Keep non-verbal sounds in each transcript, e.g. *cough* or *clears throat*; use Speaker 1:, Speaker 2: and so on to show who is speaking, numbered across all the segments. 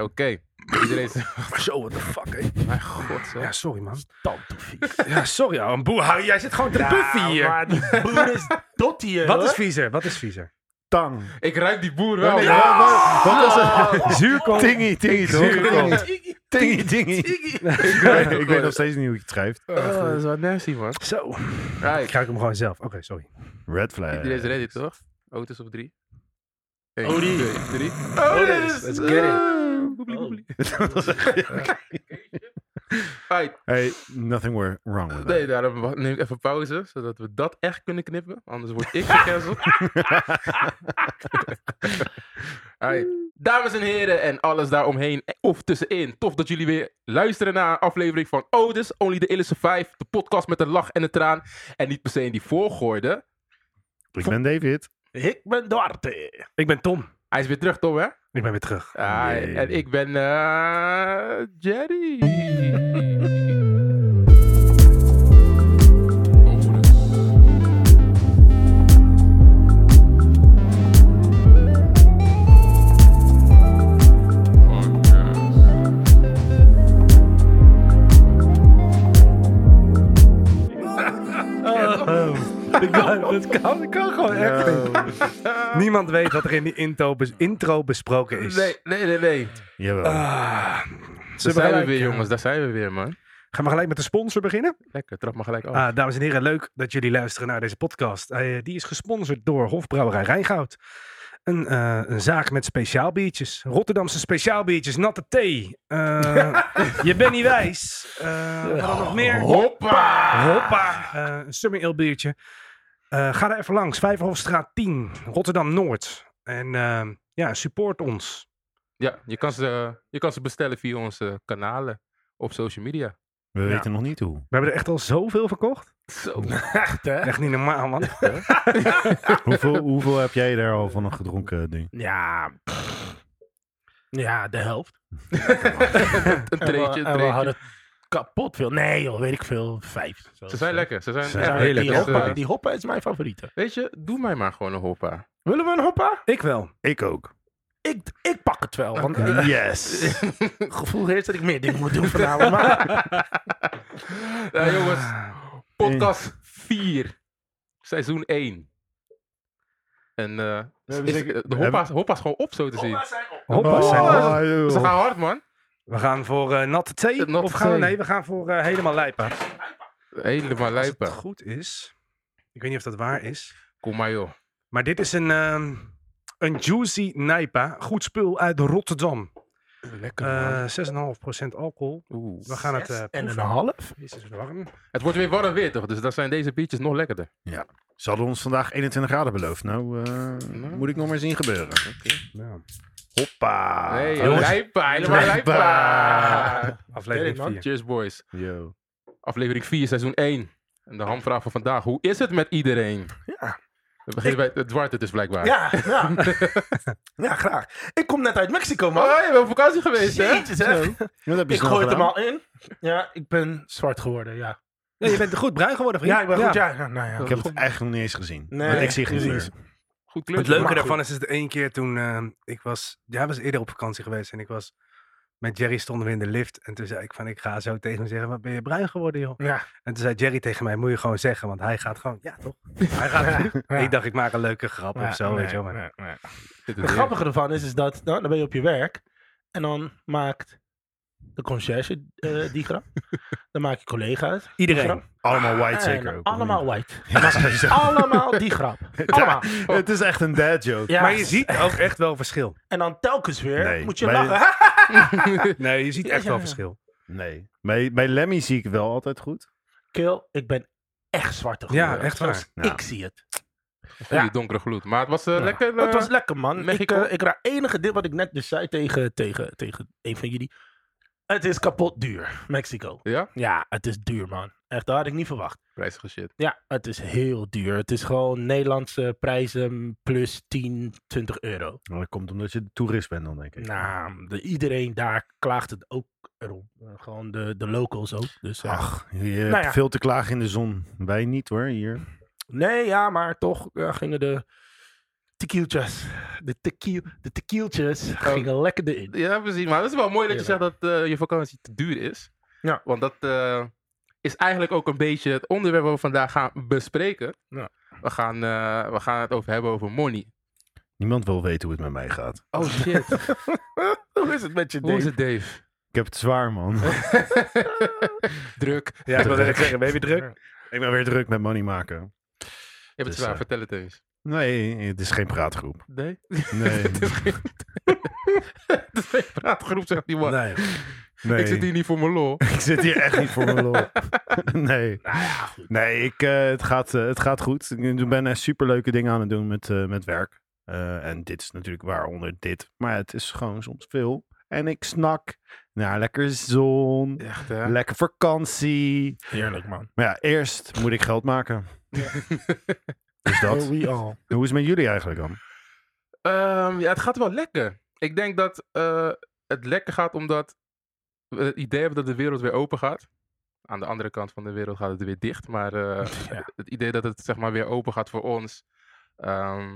Speaker 1: Oké, iedereen is... *laughs*
Speaker 2: Zo, what the fuck, hé.
Speaker 1: Mijn god, zeg.
Speaker 2: Ja, sorry, man.
Speaker 3: Tandvies.
Speaker 2: Ja, sorry, ouwe. Boe, Harry, jij zit gewoon te puffen hier.
Speaker 3: maar die broer is dot hier.
Speaker 2: Wat
Speaker 3: hoor.
Speaker 2: is viezer? Wat is viezer?
Speaker 4: Tang.
Speaker 1: Ik ruik die boer wel.
Speaker 4: Nee,
Speaker 1: ja.
Speaker 4: wa- wa- Oh, Wat was het?
Speaker 2: *laughs* Zuurkool.
Speaker 4: Tingy, tingy,
Speaker 2: Zuurkool.
Speaker 4: toch? Tingy, tingy.
Speaker 1: Ik,
Speaker 4: Ik weet nog steeds niet hoe je het schrijft.
Speaker 1: dat is wat nasty, man.
Speaker 2: Zo. Ik
Speaker 1: Right.
Speaker 2: ruik hem gewoon zelf. Oké, sorry.
Speaker 4: Red flag.
Speaker 1: Iedereen is ready, toch? Otis op drie. 1,
Speaker 3: Odie.
Speaker 1: 2, 3. Otis!
Speaker 2: Let's get it.
Speaker 1: Right.
Speaker 4: *laughs* Hey, nothing were- wrong with
Speaker 1: Nee,
Speaker 4: that.
Speaker 1: daarom wa- neem ik even pauze, zodat we dat echt kunnen knippen. Anders word ik gecanceld. Alright. Dames en heren en alles daaromheen eh, of tussenin. Tof dat jullie weer luisteren naar een aflevering van Otis, Only the Illicit 5. De podcast met een lach en een traan. En niet per se in die volgorde.
Speaker 4: Ik ben David.
Speaker 3: Ik ben Duarte.
Speaker 2: Ik ben Tom.
Speaker 1: Hij is weer terug, Tom, hè?
Speaker 2: Ik ben weer terug.
Speaker 1: Ah,
Speaker 4: Jee.
Speaker 1: en ik ben eh, Jerry.
Speaker 2: *laughs* Dat kan, dat kan, dat kan gewoon echt niet. Niemand weet wat er in die intro, bes- intro besproken is.
Speaker 1: Nee, nee, nee, nee.
Speaker 4: Jawel.
Speaker 2: Ah,
Speaker 1: Daar zijn we
Speaker 2: gelijk,
Speaker 1: weer,
Speaker 2: eh,
Speaker 1: jongens. Daar zijn we weer, man.
Speaker 2: Gaan we gelijk met de sponsor beginnen?
Speaker 1: Lekker, trap maar gelijk af.
Speaker 2: Ah, dames en heren, leuk dat jullie luisteren naar deze podcast. Eh, die is gesponsord door Hofbrouwerij Rijngoud. Een, eh, een zaak met speciaalbiertjes. Rotterdamse speciaalbiertjes, natte
Speaker 1: *laughs*
Speaker 2: thee. Eh, je bent niet wijs. Eh wat dan nog meer?
Speaker 1: Hoppa!
Speaker 2: Hoppa, eh, een summer ale biertje. Eh, ga daar even langs, Vijverhofstraat 10, Rotterdam-Noord. En eh, ja, support ons.
Speaker 1: Ja, je kan, ze, je kan ze bestellen via onze kanalen op social media.
Speaker 4: We weten nog niet hoe.
Speaker 2: We hebben er echt al zoveel verkocht.
Speaker 1: *laughs* Zo.
Speaker 3: Echt, hè?
Speaker 2: Echt niet normaal,
Speaker 1: *laughs*
Speaker 2: man.
Speaker 4: Hoeveel, hoeveel heb jij daar al van gedronken, ding?
Speaker 3: Ja. pff. Ja, de helft.
Speaker 1: Een
Speaker 3: En we-
Speaker 1: treetje, een
Speaker 3: en we
Speaker 1: treetje.
Speaker 3: hadden kapot veel. Nee, joh, weet ik veel. Vijf. Zo.
Speaker 1: Ze zijn lekker. Ze zijn,
Speaker 4: Ze
Speaker 1: echt
Speaker 4: zijn
Speaker 3: Ja,
Speaker 1: lekker.
Speaker 3: die,
Speaker 1: Dus,
Speaker 3: hoppa,
Speaker 1: eh,
Speaker 3: die hoppa is mijn favoriete.
Speaker 1: Weet je, doe mij maar gewoon een hoppa.
Speaker 3: Willen we een hoppa?
Speaker 2: Ik wel.
Speaker 4: Ik ook.
Speaker 3: Ik, ik pak het wel. Want eh,
Speaker 4: Yes. Oh,
Speaker 3: het gevoel heeft dat ik meer dingen
Speaker 1: *laughs*
Speaker 3: moet doen vanavond. Maar
Speaker 1: Nou, jongens,
Speaker 2: Eh,
Speaker 1: podcast 4, seizoen 1. En eh,
Speaker 4: hebben
Speaker 1: is-
Speaker 4: zeker-
Speaker 1: de hoppa's, hoppa's gewoon op, zo te zien.
Speaker 2: Hoppa,
Speaker 1: Oh.
Speaker 2: zijn we.
Speaker 1: Ze gaan hard, man.
Speaker 2: We gaan voor eh, natte thee.
Speaker 1: Eh, natte
Speaker 2: of gaan we,
Speaker 1: thee.
Speaker 2: nee, we gaan voor eh, helemaal lijpen. Als
Speaker 1: Helemaal
Speaker 2: het
Speaker 1: lijpen.
Speaker 2: goed is. Ik weet niet of dat waar is.
Speaker 1: Kom maar, joh.
Speaker 2: Maar dit is een, ehm, een juicy Nijpa. Goed spul uit Rotterdam.
Speaker 1: Lekker, man.
Speaker 2: Eh 6,5% alcohol.
Speaker 1: Oeh.
Speaker 2: We gaan het eh
Speaker 3: en een
Speaker 2: proeven.
Speaker 3: half.
Speaker 2: Is het warm?
Speaker 1: Het wordt weer warm weer, toch? Dus dan zijn deze biertjes nog lekkerder.
Speaker 4: Ze hadden ons vandaag 21 graden beloofd. Nou, eh, moet ik nog maar zien gebeuren.
Speaker 2: Ja.
Speaker 4: Hoppa. Oh,
Speaker 1: Nee,
Speaker 4: Ah, Jongens.
Speaker 1: lijpa, helemaal
Speaker 4: Lijpa.
Speaker 1: lijpa.
Speaker 2: *laughs* Aflevering
Speaker 3: Sterk,
Speaker 2: 4.
Speaker 3: man.
Speaker 1: Cheers, boys.
Speaker 4: Yo.
Speaker 1: Aflevering 4, seizoen 1. En de hamvraag van vandaag. Hoe is het met iedereen?
Speaker 3: Ja.
Speaker 1: We beginnen bij het zwarte dus blijkbaar.
Speaker 3: Ja,
Speaker 1: *laughs*
Speaker 3: ja. ja, graag. Ik kom net uit Mexico,
Speaker 1: Oh,
Speaker 3: man.
Speaker 1: je bent op vakantie geweest, hè?
Speaker 3: Jezus, hè?
Speaker 4: Wat heb je
Speaker 3: Ik
Speaker 4: snel
Speaker 3: gooi
Speaker 4: gedaan?
Speaker 3: het hem al in. Ja, ik ben zwart geworden, ja.
Speaker 2: Nee, je bent goed bruin geworden, vriend.
Speaker 3: Ja, ik ben goed, ja. ja, Nou ja.
Speaker 4: Ik heb het eigenlijk nog niet eens gezien.
Speaker 3: Nee.
Speaker 4: Want ik zie geen
Speaker 3: Nee.
Speaker 4: eens.
Speaker 1: Goed
Speaker 2: Het
Speaker 1: kleurtje.
Speaker 2: leuke
Speaker 3: Maar
Speaker 2: daarvan is, is de één keer toen eh, ik was... Jij was eerder op vakantie geweest en ik was... Met Jerry stonden we in de lift en toen zei ik van, ik ga zo tegen hem zeggen, wat ben je bruin geworden, joh?
Speaker 3: Ja,
Speaker 2: En toen zei Jerry tegen mij, moet je gewoon zeggen, want hij gaat gewoon, ja toch? Hij gaat,
Speaker 3: ja.
Speaker 2: Ik dacht, ik maak een leuke grap
Speaker 3: Ja,
Speaker 2: of zo,
Speaker 3: nee,
Speaker 2: weet je wel. Maar
Speaker 3: nee, nee.
Speaker 1: Dit is
Speaker 3: Het grappige ervan is, is dat nou, dan ben je op je werk en dan maakt de conciërge eh, die
Speaker 4: *laughs*
Speaker 3: grap. Dan maak je collega's. die
Speaker 2: Iedereen.
Speaker 3: grap.
Speaker 4: Allemaal white
Speaker 3: Ah, En
Speaker 4: zeker ook.
Speaker 3: Allemaal white.
Speaker 4: *laughs* white.
Speaker 3: Allemaal die
Speaker 4: *laughs*
Speaker 3: grap. Allemaal.
Speaker 4: Het is echt een dad joke.
Speaker 3: Ja.
Speaker 2: Maar je ziet ook echt wel verschil.
Speaker 3: En dan telkens weer
Speaker 4: Nee,
Speaker 3: moet je
Speaker 4: maar je-
Speaker 3: lachen.
Speaker 2: Nee, je ziet
Speaker 3: Ja,
Speaker 2: echt
Speaker 3: ja,
Speaker 2: wel
Speaker 3: ja.
Speaker 2: verschil.
Speaker 4: Nee. Bij, bij Lemmy zie ik wel altijd goed.
Speaker 3: *laughs* Kill, ik ben echt zwart
Speaker 2: Ja,
Speaker 3: geworden.
Speaker 2: echt
Speaker 3: Zoals
Speaker 2: waar.
Speaker 4: Ja.
Speaker 3: Ik zie het.
Speaker 1: een goede donkere gloed. Maar het was eh, lekker... eh,
Speaker 3: Het was lekker, man. Ik,
Speaker 1: Mexico.
Speaker 3: eh, ik raak enige dit wat ik net dus zei tegen, tegen, tegen een van jullie. Het is kapot duur, Mexico.
Speaker 1: Ja?
Speaker 3: Ja, het is duur, man. Echt, dat had ik niet verwacht.
Speaker 1: Prijzige shit.
Speaker 3: Ja, het is heel duur. Het is gewoon Nederlandse prijzen plus 10, 20 euro.
Speaker 4: Maar dat komt omdat je toerist bent dan, denk ik.
Speaker 3: Nou, de, iedereen daar klaagt het ook erom. Eh, Gewoon de, de locals ook. Dus, eh,
Speaker 4: Ach, je
Speaker 3: Nou
Speaker 4: hebt
Speaker 3: ja.
Speaker 4: veel te klagen in de zon. Wij niet hoor, hier.
Speaker 3: Nee, ja, maar toch ja, gingen eh, de tequieltjes. De, tequiel, de tequieltjes gingen lekker erin.
Speaker 1: Ja, precies. Maar dat is wel mooi dat je zegt
Speaker 3: Heerlijk.
Speaker 1: dat eh, je vakantie te duur is.
Speaker 3: Ja.
Speaker 1: Want dat eh, is eigenlijk ook een beetje het onderwerp wat we vandaag gaan bespreken.
Speaker 3: Ja.
Speaker 1: We, gaan, eh, we gaan het over hebben over money.
Speaker 4: Niemand wil weten hoe het met mij gaat.
Speaker 1: *laughs* Oh shit.
Speaker 3: Hoe is het met je
Speaker 1: Hoe is het, *laughs* Dave?
Speaker 4: Ik heb het zwaar, man.
Speaker 1: Druk.
Speaker 2: Ja,
Speaker 4: *laughs*
Speaker 2: ik wilde net zeggen, ben je weer druk?
Speaker 4: ik ben weer druk met money maken.
Speaker 1: Je hebt het
Speaker 4: Dus,
Speaker 1: zwaar,
Speaker 4: eh,
Speaker 1: vertel het eens.
Speaker 4: Nee, het is geen praatgroep.
Speaker 1: *laughs* Nee?
Speaker 4: Nee,
Speaker 1: Het is geen- *laughs* Het is geen praatgroep, zegt die man.
Speaker 2: Nee.
Speaker 4: nee.
Speaker 1: Ik zit hier niet voor mijn lol.
Speaker 4: *laughs* ik zit hier echt niet voor mijn lol. nee,
Speaker 3: Nou
Speaker 4: nee ik, eh, het, gaat, eh, het gaat goed. Ik ben echt superleuke dingen aan het doen met, eh, met werk. Eh, en dit is natuurlijk waaronder dit. Maar het is gewoon soms veel. En ik snak naar lekker zon,
Speaker 1: Echt, hè?
Speaker 4: lekker vakantie.
Speaker 3: Heerlijk, man.
Speaker 4: Maar ja, eerst moet ik geld maken.
Speaker 1: *laughs*
Speaker 4: Dus dat.
Speaker 3: Oh, we all.
Speaker 4: Hoe is het met jullie eigenlijk dan?
Speaker 1: Ehm, ja, het gaat wel lekker. Ik denk dat eh, het lekker gaat omdat we het idee hebben dat de wereld weer open gaat. Aan de andere kant van de wereld gaat het weer dicht. Maar eh,
Speaker 3: Ja.
Speaker 1: het idee dat het zeg maar, weer open gaat voor ons, ehm,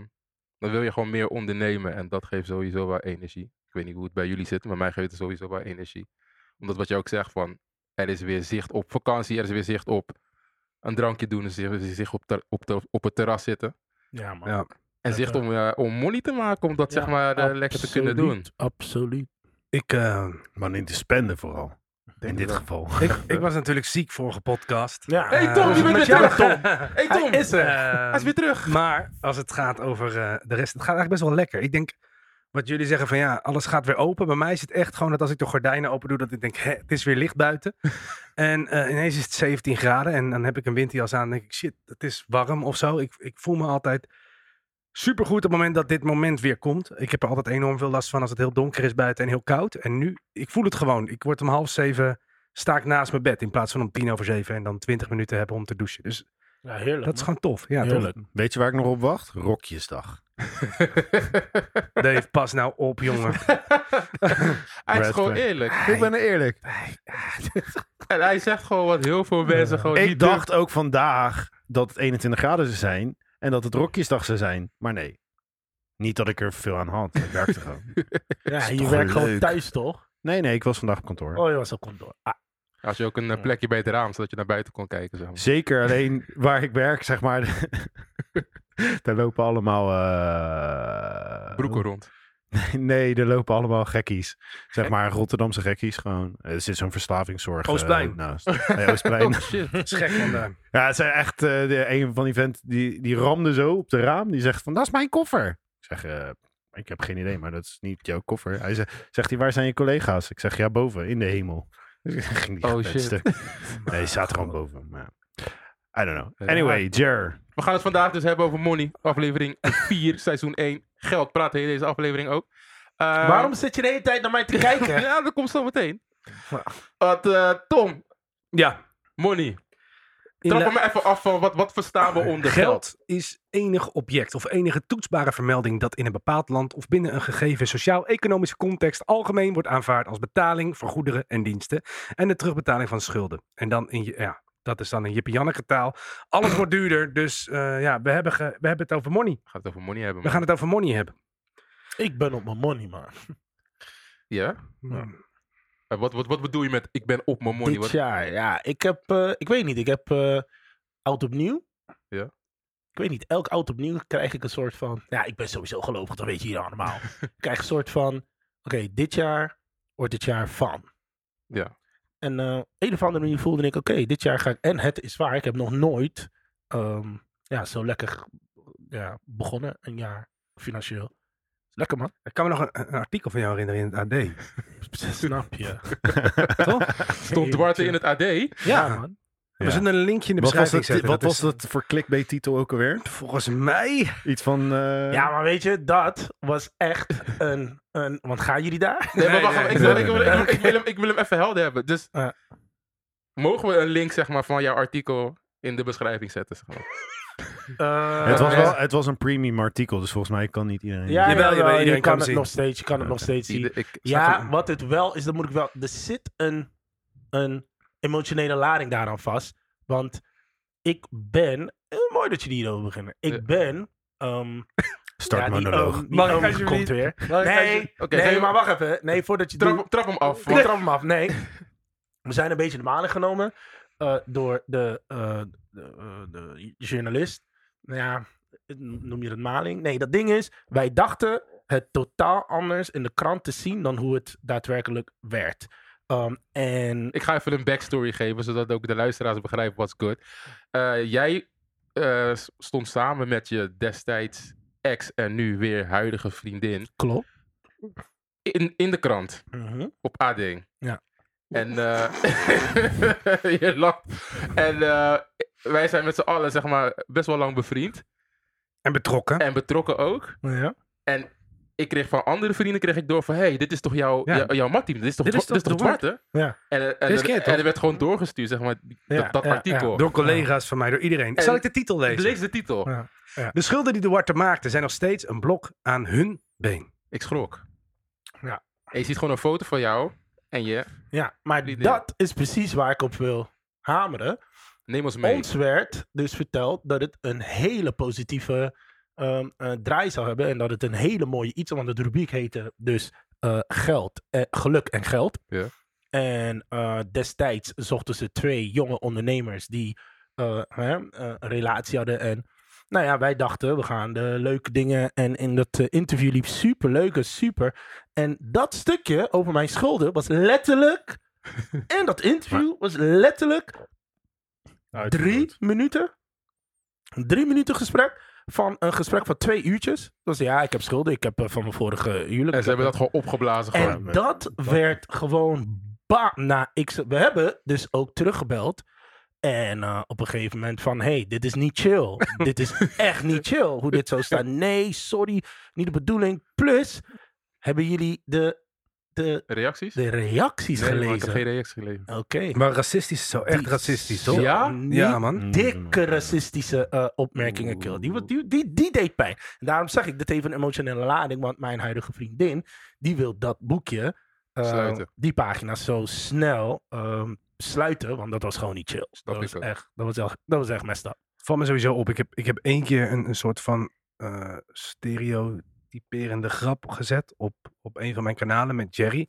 Speaker 1: dan wil je gewoon meer ondernemen. En dat geeft sowieso wel energie. Ik weet niet hoe het bij jullie zit, maar mij geeft het sowieso wel energie. Omdat wat je ook zegt van, er is weer zicht op vakantie, er is weer zicht op een drankje doen, er is weer zicht op, ter- op, ter- op het terras zitten.
Speaker 3: Ja, man.
Speaker 2: Ja.
Speaker 1: En
Speaker 3: Dat,
Speaker 1: zicht
Speaker 3: eh,
Speaker 1: om, eh, om money te maken, om dat zeg
Speaker 3: Ja,
Speaker 1: maar eh, lekker te kunnen doen.
Speaker 3: absoluut, Absoluut.
Speaker 2: Ik, eh,
Speaker 4: Money te spenden vooral. In dit geval.
Speaker 2: ik, ik was natuurlijk ziek vorige podcast.
Speaker 3: Ja.
Speaker 1: Hey,
Speaker 2: Eh,
Speaker 1: Tom, je
Speaker 2: hoe is het
Speaker 1: bent
Speaker 2: met
Speaker 1: weer
Speaker 2: jou, Ehm,
Speaker 1: terug.
Speaker 2: *laughs* Tom?
Speaker 1: Hey Tom,
Speaker 2: Hij is er.
Speaker 1: hij is weer terug.
Speaker 2: Maar als het gaat over eh, de rest, het gaat eigenlijk best wel lekker. Ik denk, wat jullie zeggen van ja, alles gaat weer open. Bij mij is het echt gewoon dat als ik de gordijnen open doe, dat ik denk, hè, het is weer licht buiten. en eh, ineens is het 17 graden en dan heb ik een winterjas aan en denk ik, shit, het is warm of zo. Ik, ik voel me altijd supergoed op het moment dat dit moment weer komt. Ik heb er altijd enorm veel last van als het heel donker is buiten en heel koud. En nu, ik voel het gewoon. Ik word om half zeven, sta ik naast mijn bed in plaats van om tien over zeven en dan twintig minuten hebben om te douchen. Dus
Speaker 3: Ja, heerlijk.
Speaker 2: dat is
Speaker 3: man.
Speaker 2: gewoon tof. Ja, tof.
Speaker 3: heerlijk.
Speaker 4: Weet je waar ik nog op wacht? Rokjesdag.
Speaker 2: Dave, pas nou
Speaker 1: *laughs*
Speaker 2: op, jongen.
Speaker 1: *laughs* hij is
Speaker 4: Red
Speaker 1: gewoon
Speaker 4: flag.
Speaker 1: eerlijk.
Speaker 4: Ik ben eerlijk.
Speaker 1: En hij zegt gewoon wat heel veel mensen gewoon
Speaker 4: Ik
Speaker 1: niet
Speaker 4: dacht ook vandaag dat het 21 graden zou zijn en dat het Rokjesdag zou zijn. Maar nee. Niet dat ik er veel aan had. Ik werkte gewoon.
Speaker 3: Ja,
Speaker 4: Is
Speaker 3: je
Speaker 4: toch
Speaker 3: werkt gewoon
Speaker 4: leuk.
Speaker 3: thuis, toch?
Speaker 4: Nee, nee, ik was vandaag op kantoor.
Speaker 3: Oh, je was al kantoor. Ah,
Speaker 1: doen. Als je ook een eh, plekje bij het raam, zodat je naar buiten kon kijken. Zeg maar.
Speaker 4: Zeker alleen waar ik werk, zeg maar. *laughs* daar lopen allemaal. eh,
Speaker 1: Broeken rond.
Speaker 4: *laughs* Nee, er lopen allemaal gekkies. Zeg maar Rotterdamse gekkies gewoon. Er zit zo'n verslavingszorg. eh,
Speaker 2: Oostplein.
Speaker 4: naast. Nee,
Speaker 1: *laughs*
Speaker 4: Oostplein.
Speaker 1: Oh shit.
Speaker 2: Dat is gek van de-
Speaker 4: Ja, het zijn echt eh, de, een van die vent die, die ramde zo op de raam. Die zegt van, dat is mijn koffer. Ik zeg, eh, ik heb geen idee, maar dat is niet jouw koffer. Hij zegt, zegt hij, waar zijn je collega's? Ik zeg, ja, boven, in de hemel. *laughs* Dus ging die
Speaker 1: Oh,
Speaker 4: met het
Speaker 1: shit.
Speaker 4: stuk. Nee, hij staat gewoon boven. Maar, I don't know.
Speaker 1: Ja.
Speaker 4: Anyway, Jer.
Speaker 1: We gaan het vandaag dus hebben over money. Aflevering *laughs* 4, seizoen 1. Geld praat heet deze aflevering ook. Eh,
Speaker 3: Waarom zit je de hele tijd naar mij te
Speaker 1: *laughs*
Speaker 3: kijken?
Speaker 1: Ja, dat komt zo meteen.
Speaker 3: Ja.
Speaker 1: Want, eh, Tom,
Speaker 2: Ja.
Speaker 1: money.
Speaker 2: In
Speaker 1: Trap
Speaker 2: de-
Speaker 1: me maar even af van wat, wat verstaan we onder geld?
Speaker 2: is enig object of enige toetsbare vermelding dat in een bepaald land of binnen een gegeven sociaal-economische context algemeen wordt aanvaard als betaling voor goederen en diensten en de terugbetaling van schulden. En dan in je, ja, dat is dan een jippie taal. Alles wordt duurder, dus eh, ja, we hebben, ge- we hebben het over money.
Speaker 1: We gaan het over money hebben.
Speaker 2: We gaan het over money hebben.
Speaker 3: Ik ben op mijn money, man.
Speaker 1: Ja?
Speaker 2: Hmm.
Speaker 1: Eh, Wat, wat, wat bedoel je met ik ben op mijn money?
Speaker 3: Dit
Speaker 1: Wat,
Speaker 3: jaar, ja. Ik heb, eh, ik weet niet, ik heb eh, oud opnieuw.
Speaker 1: Ja.
Speaker 3: Ik weet niet, elk oud opnieuw krijg ik een soort van... Ja, ik ben sowieso gelovig, dat weet je hier
Speaker 1: *laughs*
Speaker 3: allemaal. ik krijg een soort van, oké, dit jaar wordt het jaar van.
Speaker 1: Ja.
Speaker 3: En eh een of andere manier voelde ik, oké, dit jaar ga ik... En het is waar, ik heb nog nooit ehm, ja, zo lekker ja, begonnen, een jaar financieel. Lekker man. *laughs*
Speaker 2: Ik kan me nog een, een artikel van jou herinneren in het AD.
Speaker 3: Snap je.
Speaker 2: Toch?
Speaker 1: Stond Duarte in het AD?
Speaker 3: Ja, man.
Speaker 2: We zullen een linkje in de
Speaker 4: Wat was,
Speaker 2: beschrijving
Speaker 4: dat,
Speaker 2: zetten.
Speaker 4: wat was
Speaker 2: is-
Speaker 4: dat voor clickbait-titel ook alweer?
Speaker 2: Volgens mij...
Speaker 4: Iets van... eh,
Speaker 3: Ja, maar weet je, dat was echt een... een want gaan jullie
Speaker 1: *laughs*
Speaker 3: daar?
Speaker 1: Nee, maar
Speaker 2: Nee,
Speaker 1: wacht
Speaker 2: nee,
Speaker 1: even, ik
Speaker 4: nee,
Speaker 1: wil- ik
Speaker 4: nee,
Speaker 1: wil- ik wil- ik wil hem- Ik wil hem even helder hebben. Dus
Speaker 3: Ja.
Speaker 1: mogen we een link zeg maar, van jouw artikel in de beschrijving zetten? Zeg maar?
Speaker 4: het, was
Speaker 1: eh,
Speaker 4: wel, het was een premium artikel, dus volgens mij kan niet iedereen...
Speaker 3: Ja,
Speaker 2: Jawel,
Speaker 3: jawel,
Speaker 2: jawel,
Speaker 3: je
Speaker 2: iedereen
Speaker 3: kan
Speaker 2: kan
Speaker 3: het
Speaker 2: zien.
Speaker 3: nog steeds, je kan het nog steeds zien.
Speaker 1: Ik- ik-
Speaker 3: Ja, wat het wel is, dat moet ik wel. Er zit een, een emotionele lading daaraan vast. Want ik ben. eh, mooi dat je die hierover beginnen. Ik
Speaker 1: Ja.
Speaker 3: ben. ehm,
Speaker 4: Start
Speaker 3: Ja, die
Speaker 4: monoloog.
Speaker 3: oom- die
Speaker 2: Mag ik
Speaker 3: oom
Speaker 2: alsjeblieft?
Speaker 3: komt weer.
Speaker 1: alsjeblieft?
Speaker 3: Nee,
Speaker 1: Oké, ga
Speaker 3: nee
Speaker 1: je-
Speaker 3: maar wacht even. Nee, voordat je
Speaker 1: Trap,
Speaker 3: doet-
Speaker 1: trap hem af.
Speaker 3: Ik
Speaker 1: want-
Speaker 3: trap hem af. Nee. We zijn een beetje de maling genomen eh, door de, eh, de, eh, de journalist. Nou ja, noem je het maling? Nee, dat ding is, wij dachten het totaal anders in de krant te zien dan hoe het daadwerkelijk werd. Ehm, en
Speaker 1: Ik ga even een backstory geven, zodat ook de luisteraars begrijpen wat good. Eh jij eh, s- stond samen met je destijds ex en nu weer huidige vriendin
Speaker 3: klopt.
Speaker 1: in, in de krant
Speaker 3: Mhm.
Speaker 1: op AD.
Speaker 3: Ja.
Speaker 1: En eh, *laughs* je lacht. En eh, wij zijn met z'n allen zeg maar best wel lang bevriend
Speaker 2: En betrokken.
Speaker 1: en betrokken ook.
Speaker 3: Ja.
Speaker 1: En ik kreeg van andere vrienden kreeg ik door van... hey, dit is toch jouw,
Speaker 2: Ja.
Speaker 1: jou- jouw matteam? Dit is toch,
Speaker 2: Dit is
Speaker 1: dwa- dit
Speaker 2: toch
Speaker 1: is toch
Speaker 2: de
Speaker 1: zwarte?
Speaker 3: Ja.
Speaker 1: En, eh, en,
Speaker 2: Dit is
Speaker 1: er-
Speaker 2: kei,
Speaker 1: en
Speaker 2: toch?
Speaker 1: er werd gewoon doorgestuurd, zeg maar, die-
Speaker 3: Ja,
Speaker 1: dat, dat
Speaker 3: ja, ja.
Speaker 1: artikel.
Speaker 2: Door collega's van mij, door iedereen.
Speaker 1: En-
Speaker 2: Zal ik oh. de titel lezen?
Speaker 1: Lees de titel.
Speaker 3: Ja.
Speaker 2: De schulden die Duarte maakte zijn nog steeds een blok aan hun been.
Speaker 1: Ik schrok.
Speaker 3: Ja.
Speaker 1: En je ziet gewoon een foto van jou en je...
Speaker 3: ja, maar
Speaker 1: Die dingen.
Speaker 3: dat is precies waar ik op wil hameren.
Speaker 1: Neem ons mee.
Speaker 3: Ons werd dus verteld dat het een hele positieve ehm, eh, draai zou hebben. En dat het een hele mooie iets, want het rubriek heette dus eh, geld, eh, geluk en geld.
Speaker 1: Ja.
Speaker 3: En eh, destijds zochten ze twee jonge ondernemers die eh, hè, eh, een relatie hadden. En nou ja, wij dachten, we gaan de leuke dingen. En in dat eh, interview liep super leuk en super. En dat stukje over mijn schulden was letterlijk. en dat interview was letterlijk drie minuten. Drie minuten gesprek. Van een gesprek van twee uurtjes. Dus ja, ik heb schulden. Ik heb eh, van mijn vorige huwelijk.
Speaker 1: En ze hebben dat gewoon opgeblazen. Gewoon.
Speaker 3: En dat werd gewoon ba. Nou, ik, ze- we hebben dus ook teruggebeld. En eh, op een gegeven moment van, hey, dit is niet
Speaker 1: *laughs*
Speaker 3: chill. dit is echt niet chill hoe dit zo staat. Nee, sorry, niet de bedoeling. Plus, hebben jullie de, de,
Speaker 1: Reacties?
Speaker 3: de reacties
Speaker 1: Nee, man, ik heb
Speaker 3: gelezen?
Speaker 1: geen reacties gelezen.
Speaker 3: Oké.
Speaker 2: Maar racistisch zo, echt
Speaker 3: Die
Speaker 2: racistisch,
Speaker 3: zo
Speaker 2: toch?
Speaker 1: Ja?
Speaker 3: niet
Speaker 2: Ja, Mm.
Speaker 1: Mm.
Speaker 2: man.
Speaker 3: dikke racistische eh, opmerkingen, kill. Die, wat- die, die, die deed pijn. En daarom zeg ik, dit heeft een emotionele lading, want mijn huidige vriendin, die wil dat boekje, eh,
Speaker 1: Sluiten.
Speaker 3: die pagina's zo snel ehm, sluiten, want dat was gewoon niet chill. Dat
Speaker 1: ik
Speaker 3: was,
Speaker 1: ook.
Speaker 3: echt, dat, was echt, dat was echt messed up.
Speaker 2: Val me sowieso op. Ik heb, ik heb één keer een, een soort van eh, stereotyperende grap gezet op, op een van mijn kanalen met Jerry.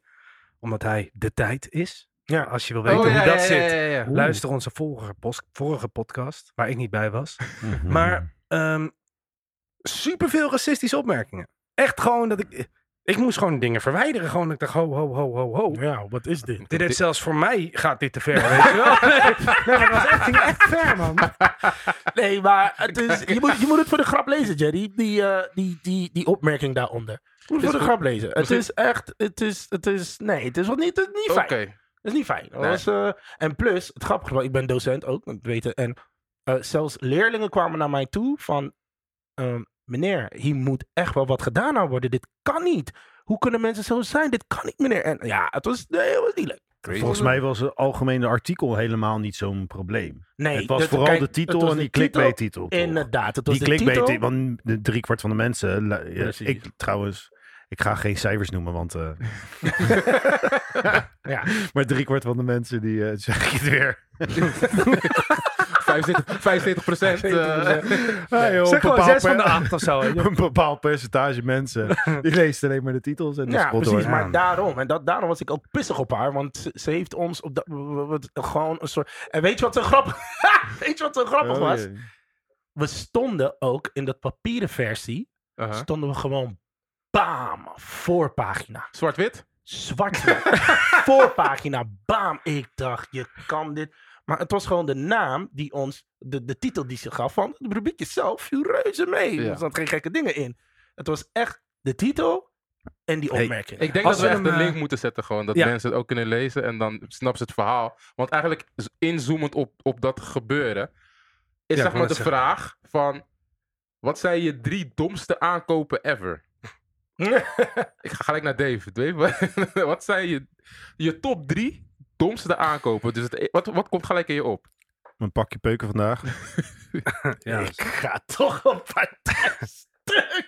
Speaker 2: Omdat hij de tijd is.
Speaker 3: Ja.
Speaker 2: Als je wil weten hoe
Speaker 1: Oh, ja,
Speaker 2: dat
Speaker 1: ja,
Speaker 2: zit,
Speaker 1: ja, ja, ja.
Speaker 2: luister onze vorige, pos- vorige podcast, waar ik niet bij was.
Speaker 4: Mhm.
Speaker 2: Maar ehm superveel racistische opmerkingen. Echt gewoon dat ik... Ik moest gewoon dingen verwijderen. Gewoon dat ik dacht, ho, ho, ho, ho, ho.
Speaker 1: Oh.
Speaker 3: Ja, wat is
Speaker 1: *laughs*
Speaker 3: dit?
Speaker 2: Dit heeft zelfs voor mij gaat dit te *laughs* ver, weet je wel? Nee, maar dat was echt, ging echt ver, man.
Speaker 3: Nee, maar het is, je, moet, je moet het voor de grap lezen, Jerry. Die, eh, die, die, die opmerking daaronder. Je moet het voor de
Speaker 1: goed.
Speaker 3: grap lezen. Het
Speaker 1: Misschien-
Speaker 3: is echt, het is, het is, nee, het is wat niet, het is niet
Speaker 1: Oké.
Speaker 3: fijn. Dat is niet fijn. Dat
Speaker 1: Nee.
Speaker 3: was, eh, en plus, het grappige was, ik ben docent ook, dat weten. En eh, zelfs leerlingen kwamen naar mij toe van... ehm, meneer, hier moet echt wel wat gedaan aan worden. Dit kan niet. Hoe kunnen mensen zo zijn? Dit kan niet, meneer. En ja, het was, nee, het was niet leuk.
Speaker 4: Volgens mij was het algemene artikel helemaal niet zo'n probleem.
Speaker 3: Nee,
Speaker 4: het was
Speaker 3: dat-
Speaker 4: vooral
Speaker 3: kijk,
Speaker 4: de
Speaker 3: het
Speaker 4: titel
Speaker 3: was
Speaker 4: en die
Speaker 3: de titel.
Speaker 4: clickbait-titel. toch?
Speaker 3: Inderdaad, het was
Speaker 4: Die
Speaker 3: de titel.
Speaker 4: clickbait, want de driekwart van de mensen... lu- ja,
Speaker 1: Precies.
Speaker 4: ik trouwens, ik ga geen cijfers noemen, want... eh,
Speaker 3: *laughs* Ja.
Speaker 4: *laughs* maar driekwart van de mensen, die eh, *laughs* zeg ik het weer.
Speaker 1: *laughs* 75 75 procent.
Speaker 2: eh, *laughs*
Speaker 4: Hey, joh,
Speaker 2: Zeg gewoon
Speaker 4: bepaald
Speaker 2: zes van
Speaker 4: per-
Speaker 2: de
Speaker 4: *laughs*
Speaker 2: acht of zo.
Speaker 4: Een bepaald percentage mensen,
Speaker 3: *laughs*
Speaker 4: die leest alleen maar de titels en de
Speaker 3: Ja,
Speaker 4: spot
Speaker 3: precies.
Speaker 4: hoor.
Speaker 3: Maar
Speaker 2: Ja.
Speaker 3: daarom. En dat, daarom was ik ook pissig op haar. Want ze, ze heeft ons op dat, wat- gewoon een soort... En weet je wat zo grappig, *laughs* weet je wat zo grappig
Speaker 4: Oh,
Speaker 3: was?
Speaker 4: jee.
Speaker 3: We stonden ook in dat papieren versie...
Speaker 1: Uh-huh.
Speaker 3: stonden we gewoon bam, voorpagina.
Speaker 1: Zwart-wit?
Speaker 3: Zwart. *laughs* voorpagina, bam. Ik dacht, je kan dit. Maar het was gewoon de naam die ons, de, de titel die ze gaf van het rubriekje zelf viel reuze mee.
Speaker 1: Ja.
Speaker 3: Er zaten geen gekke dingen in. Het was echt de titel en die
Speaker 2: Hey,
Speaker 3: opmerking.
Speaker 1: Ik denk
Speaker 2: Als
Speaker 1: dat we
Speaker 2: we
Speaker 1: echt
Speaker 2: hem,
Speaker 1: een
Speaker 2: eh,
Speaker 1: link moeten zetten, gewoon. Dat
Speaker 2: ja.
Speaker 1: mensen het ook kunnen lezen en dan snappen ze het verhaal. Want eigenlijk, z- inzoomend op, op dat gebeuren, is
Speaker 2: ik
Speaker 1: zeg
Speaker 2: wou
Speaker 1: maar de
Speaker 2: net zeggen.
Speaker 1: vraag van... Wat zijn je drie domste aankopen ever?
Speaker 2: *laughs*
Speaker 1: Ik ga gelijk naar Dave. Dave, wat- *laughs* wat zijn je, je top drie domste aankopen? Dus het, e- wat, wat komt gelijk in je op?
Speaker 4: Een pakje peuken vandaag.
Speaker 2: Ja.
Speaker 3: Ik ga toch een *laughs* partij stuk.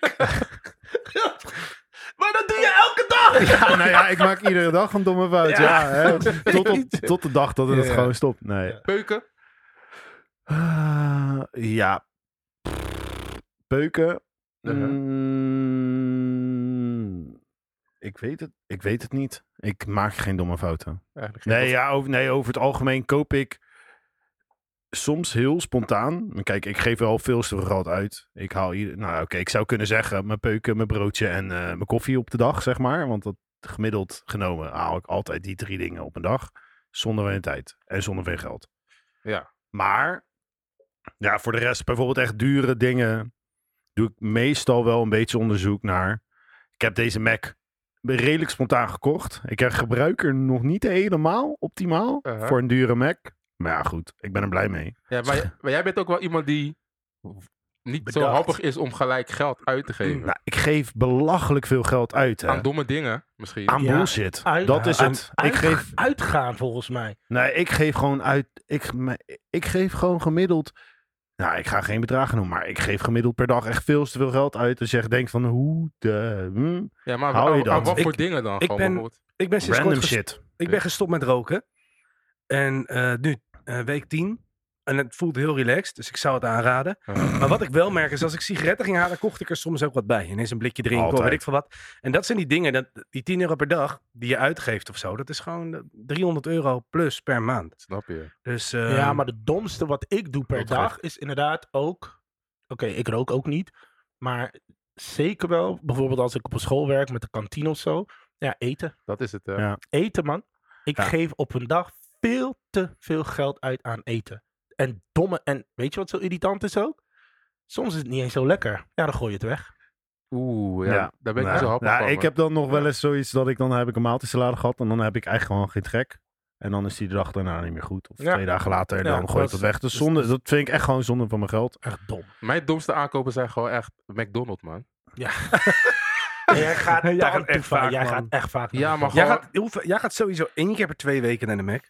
Speaker 3: maar dat doe je elke dag.
Speaker 4: Ja, nou ja, ik maak iedere dag een domme fout. Ja.
Speaker 1: *laughs*
Speaker 4: hè. Tot, op- tot de dag dat het
Speaker 1: Ja, ja.
Speaker 4: gewoon stopt. Nee.
Speaker 1: Peuken?
Speaker 4: Ah, ja. Peuken.
Speaker 1: Uh-huh.
Speaker 4: Mm, ik, weet het, ik weet het niet. Ik maak geen domme fouten.
Speaker 1: Eigenlijk geen
Speaker 4: Nee, ja, over, nee, over het algemeen koop ik soms heel spontaan. Maar Kijk, ik geef wel veel te veel geld uit. Ik haal ieder, nou oké, ik zou kunnen zeggen mijn peuken, mijn broodje en eh, mijn koffie op de dag, zeg maar. Want dat gemiddeld genomen haal ik altijd die drie dingen op een dag. Zonder mijn tijd en zonder veel geld.
Speaker 1: Ja.
Speaker 4: Maar, ja, voor de rest, bijvoorbeeld echt dure dingen, doe ik meestal wel een beetje onderzoek naar. Ik heb deze Mac redelijk spontaan gekocht. Ik gebruik er nog niet helemaal optimaal
Speaker 1: Uh-huh.
Speaker 4: voor een dure Mac. Maar ja, goed, ik ben er blij mee.
Speaker 1: Ja, maar, j- maar jij bent ook wel iemand die niet zo
Speaker 3: Bedacht.
Speaker 1: happig is om gelijk geld uit te geven.
Speaker 4: Nou, ik geef belachelijk veel geld uit. Hè.
Speaker 1: Aan
Speaker 4: Aan,
Speaker 1: domme dingen misschien.
Speaker 3: Ja,
Speaker 4: bullshit.
Speaker 3: uit-
Speaker 4: dat is
Speaker 3: aan-
Speaker 4: het. Ik
Speaker 3: Uit-
Speaker 4: geef,
Speaker 3: Uitgaan volgens mij.
Speaker 4: nee, ik geef gewoon uit. Ik, me- ik geef gewoon gemiddeld. Nou, ik ga geen bedragen noemen, maar ik geef gemiddeld per dag echt veel te veel geld uit. Als je echt denkt van hoe de. hm,
Speaker 1: ja, maar
Speaker 4: Hou je
Speaker 1: aan- aan
Speaker 4: dat?
Speaker 1: wat
Speaker 2: Ik-
Speaker 1: voor dingen dan?
Speaker 2: ik
Speaker 1: gewoon,
Speaker 2: ben-
Speaker 1: bijvoorbeeld?
Speaker 2: Ik ben sinds kort
Speaker 4: random
Speaker 2: ges-
Speaker 4: shit.
Speaker 2: Ik ben gestopt met roken. En eh, nu eh, week 10. En het voelt heel relaxed, dus ik zou het aanraden.
Speaker 1: *clears throat*
Speaker 2: Maar wat ik wel merk is, als ik sigaretten ging halen, kocht ik er soms ook wat bij. En eens een blikje drinken, of
Speaker 4: Altijd.
Speaker 2: weet ik veel wat. En dat zijn die dingen, dat, die 10 euro per dag die je uitgeeft of zo. Dat is gewoon eh, 300 euro plus per maand.
Speaker 1: Snap je?
Speaker 2: Dus, eh,
Speaker 3: ja, maar de domste wat ik doe per
Speaker 1: Ehm, Ook
Speaker 3: dag is inderdaad ook. Oké, ik rook ook niet. Maar zeker wel, bijvoorbeeld als ik op een school werk met de kantine of zo. Ja, eten.
Speaker 1: Dat is het. eh.
Speaker 4: Ja.
Speaker 3: Eten, man. Ik
Speaker 4: Ja.
Speaker 3: geef op een dag veel te veel geld uit aan eten. En domme. En weet je wat zo irritant is ook? Soms is het niet eens zo lekker. Ja, dan gooi je het weg.
Speaker 1: Oeh, ja,
Speaker 4: Ja.
Speaker 1: daar ben ik niet
Speaker 4: Nou,
Speaker 1: zo happig
Speaker 4: nou,
Speaker 1: van.
Speaker 4: Ik
Speaker 1: man.
Speaker 4: heb dan nog wel
Speaker 1: Ja.
Speaker 4: eens zoiets dat ik dan heb ik een maaltijdsalade gehad en dan heb ik eigenlijk gewoon geen trek. En dan is die de dag daarna niet meer goed. Of
Speaker 1: Ja.
Speaker 4: twee dagen later en
Speaker 3: Ja,
Speaker 4: dan gooi ik
Speaker 3: dat
Speaker 4: dat
Speaker 3: is-
Speaker 4: weg. Dus
Speaker 3: dus-
Speaker 4: zonde, dat vind ik echt gewoon zonde van mijn geld.
Speaker 3: Echt
Speaker 1: *laughs*
Speaker 3: dom.
Speaker 1: Mijn domste aankopen zijn gewoon echt McDonald's, man.
Speaker 3: En jij *laughs* gaat,
Speaker 2: Jij
Speaker 3: dan
Speaker 2: gaat
Speaker 3: toe
Speaker 2: echt
Speaker 3: van-
Speaker 2: vaak,
Speaker 3: jij
Speaker 2: man.
Speaker 3: gaat echt vaak.
Speaker 1: Ja, maar
Speaker 2: jij,
Speaker 1: gewoon...
Speaker 2: gaat, hoeveel- jij gaat sowieso één keer per twee weken naar de Mac.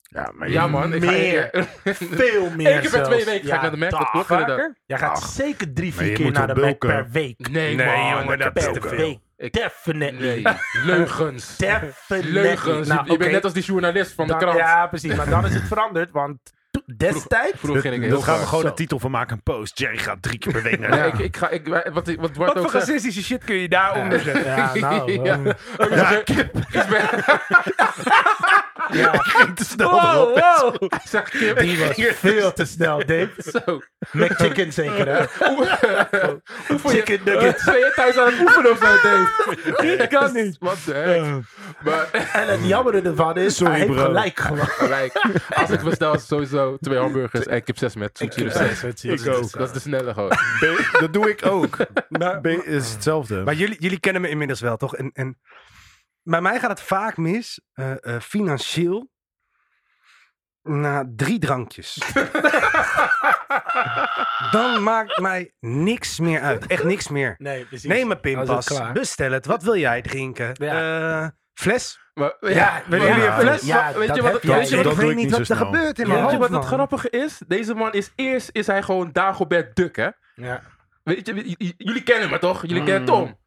Speaker 4: Ja, maar
Speaker 1: Ja, man. Ik ga
Speaker 3: Meer.
Speaker 1: Eén
Speaker 3: veel meer.
Speaker 1: keer per twee
Speaker 3: zelfs.
Speaker 1: weken
Speaker 3: Ja,
Speaker 1: ga ik naar de Mac. Dat
Speaker 3: dag.
Speaker 1: klopt inderdaad.
Speaker 3: Jij gaat
Speaker 4: Ach.
Speaker 3: zeker drie,
Speaker 4: Maar je
Speaker 3: vier keer
Speaker 4: moet
Speaker 3: naar de
Speaker 4: wel
Speaker 3: Mac
Speaker 4: bulken.
Speaker 3: per week.
Speaker 1: *laughs* Nee,
Speaker 2: Nee,
Speaker 1: man.
Speaker 2: jongen,
Speaker 1: ik
Speaker 2: dat
Speaker 1: heb
Speaker 2: is
Speaker 3: Per
Speaker 2: te
Speaker 1: ook-
Speaker 2: veel.
Speaker 3: week.
Speaker 1: Ik-
Speaker 3: Definitely.
Speaker 1: Nee,
Speaker 3: *laughs*
Speaker 1: leugens.
Speaker 3: Definitely.
Speaker 1: Leugens.
Speaker 3: Nou,
Speaker 1: Je- je
Speaker 3: oké,
Speaker 1: bent net als die journalist van de
Speaker 3: dan-
Speaker 1: krant.
Speaker 3: Ja, precies. Maar dan is het veranderd, want to- destijds...
Speaker 1: Vroeger ging ik heel
Speaker 4: dat gaan we
Speaker 1: ver.
Speaker 4: gewoon
Speaker 3: Zo.
Speaker 4: een titel van maken, een post. Jerry gaat drie keer per week naar
Speaker 1: Ja,
Speaker 4: de *laughs*
Speaker 1: ik, ik ga, ik, wat, wat Bart
Speaker 2: Wat
Speaker 1: ook
Speaker 2: voor
Speaker 1: zegt.
Speaker 2: racistische shit kun je daaronder zetten?
Speaker 3: *laughs* Ja, nou. eh,
Speaker 1: Ja.
Speaker 3: ja.
Speaker 1: Ja, kip. Ik ben,
Speaker 4: ging te snel
Speaker 3: Wow,
Speaker 4: erop.
Speaker 3: wow.
Speaker 1: ik zeg kip.
Speaker 3: Die *laughs* was veel te snel, Dave.
Speaker 1: *laughs* Zo.
Speaker 3: McChicken zeker, *laughs* hè?
Speaker 1: Hoe- hoe vond je-
Speaker 3: Chicken nuggets.
Speaker 1: Ben je thuis aan het oefenen of zo, Dave?
Speaker 3: Dat kan niet.
Speaker 1: Wat de heck. Ah. Maar
Speaker 3: *laughs* En het jammere ervan is,
Speaker 4: Sorry,
Speaker 3: hij heeft
Speaker 4: bro.
Speaker 3: gelijk *laughs* gewoon.
Speaker 1: gelijk. Als ik bestel, is sowieso twee hamburgers en kip 6 met zoetje recept.
Speaker 4: Ik ook.
Speaker 1: Dat is de snelle gewoon.
Speaker 4: B- Dat doe ik ook.
Speaker 2: Maar-
Speaker 4: B is hetzelfde.
Speaker 2: Maar jullie, jullie kennen me inmiddels wel, toch? En, en bij mij gaat het vaak mis, eh, eh, financieel, na drie drankjes. Dan maakt mij niks meer uit. Echt niks meer.
Speaker 3: *laughs* Nee, precies.
Speaker 2: Neem een
Speaker 3: Dan is het
Speaker 2: pinpas,
Speaker 3: klaar.
Speaker 2: bestel het. Wat wil jij drinken? Eh, fles?
Speaker 1: Maar,
Speaker 2: Ja, willen
Speaker 1: maar-
Speaker 2: jullie een fles?
Speaker 3: Ja,
Speaker 1: Maar weet
Speaker 3: dat
Speaker 1: je wat
Speaker 3: heb
Speaker 1: het-
Speaker 3: jij.
Speaker 1: weet je wat
Speaker 4: Dat
Speaker 2: ik
Speaker 4: doe
Speaker 2: weet
Speaker 4: ik
Speaker 2: niet
Speaker 4: niet
Speaker 2: wat
Speaker 4: zo
Speaker 2: er
Speaker 4: snel.
Speaker 2: gebeurt in
Speaker 1: Maar
Speaker 2: mijn
Speaker 1: weet je
Speaker 2: hoofd,
Speaker 1: wat het
Speaker 2: man.
Speaker 1: grappige is? Deze man is eerst is hij gewoon Dagobert Duck, hè?
Speaker 3: Ja.
Speaker 1: Weet je, j- j- jullie kennen me toch? Jullie kennen Tom.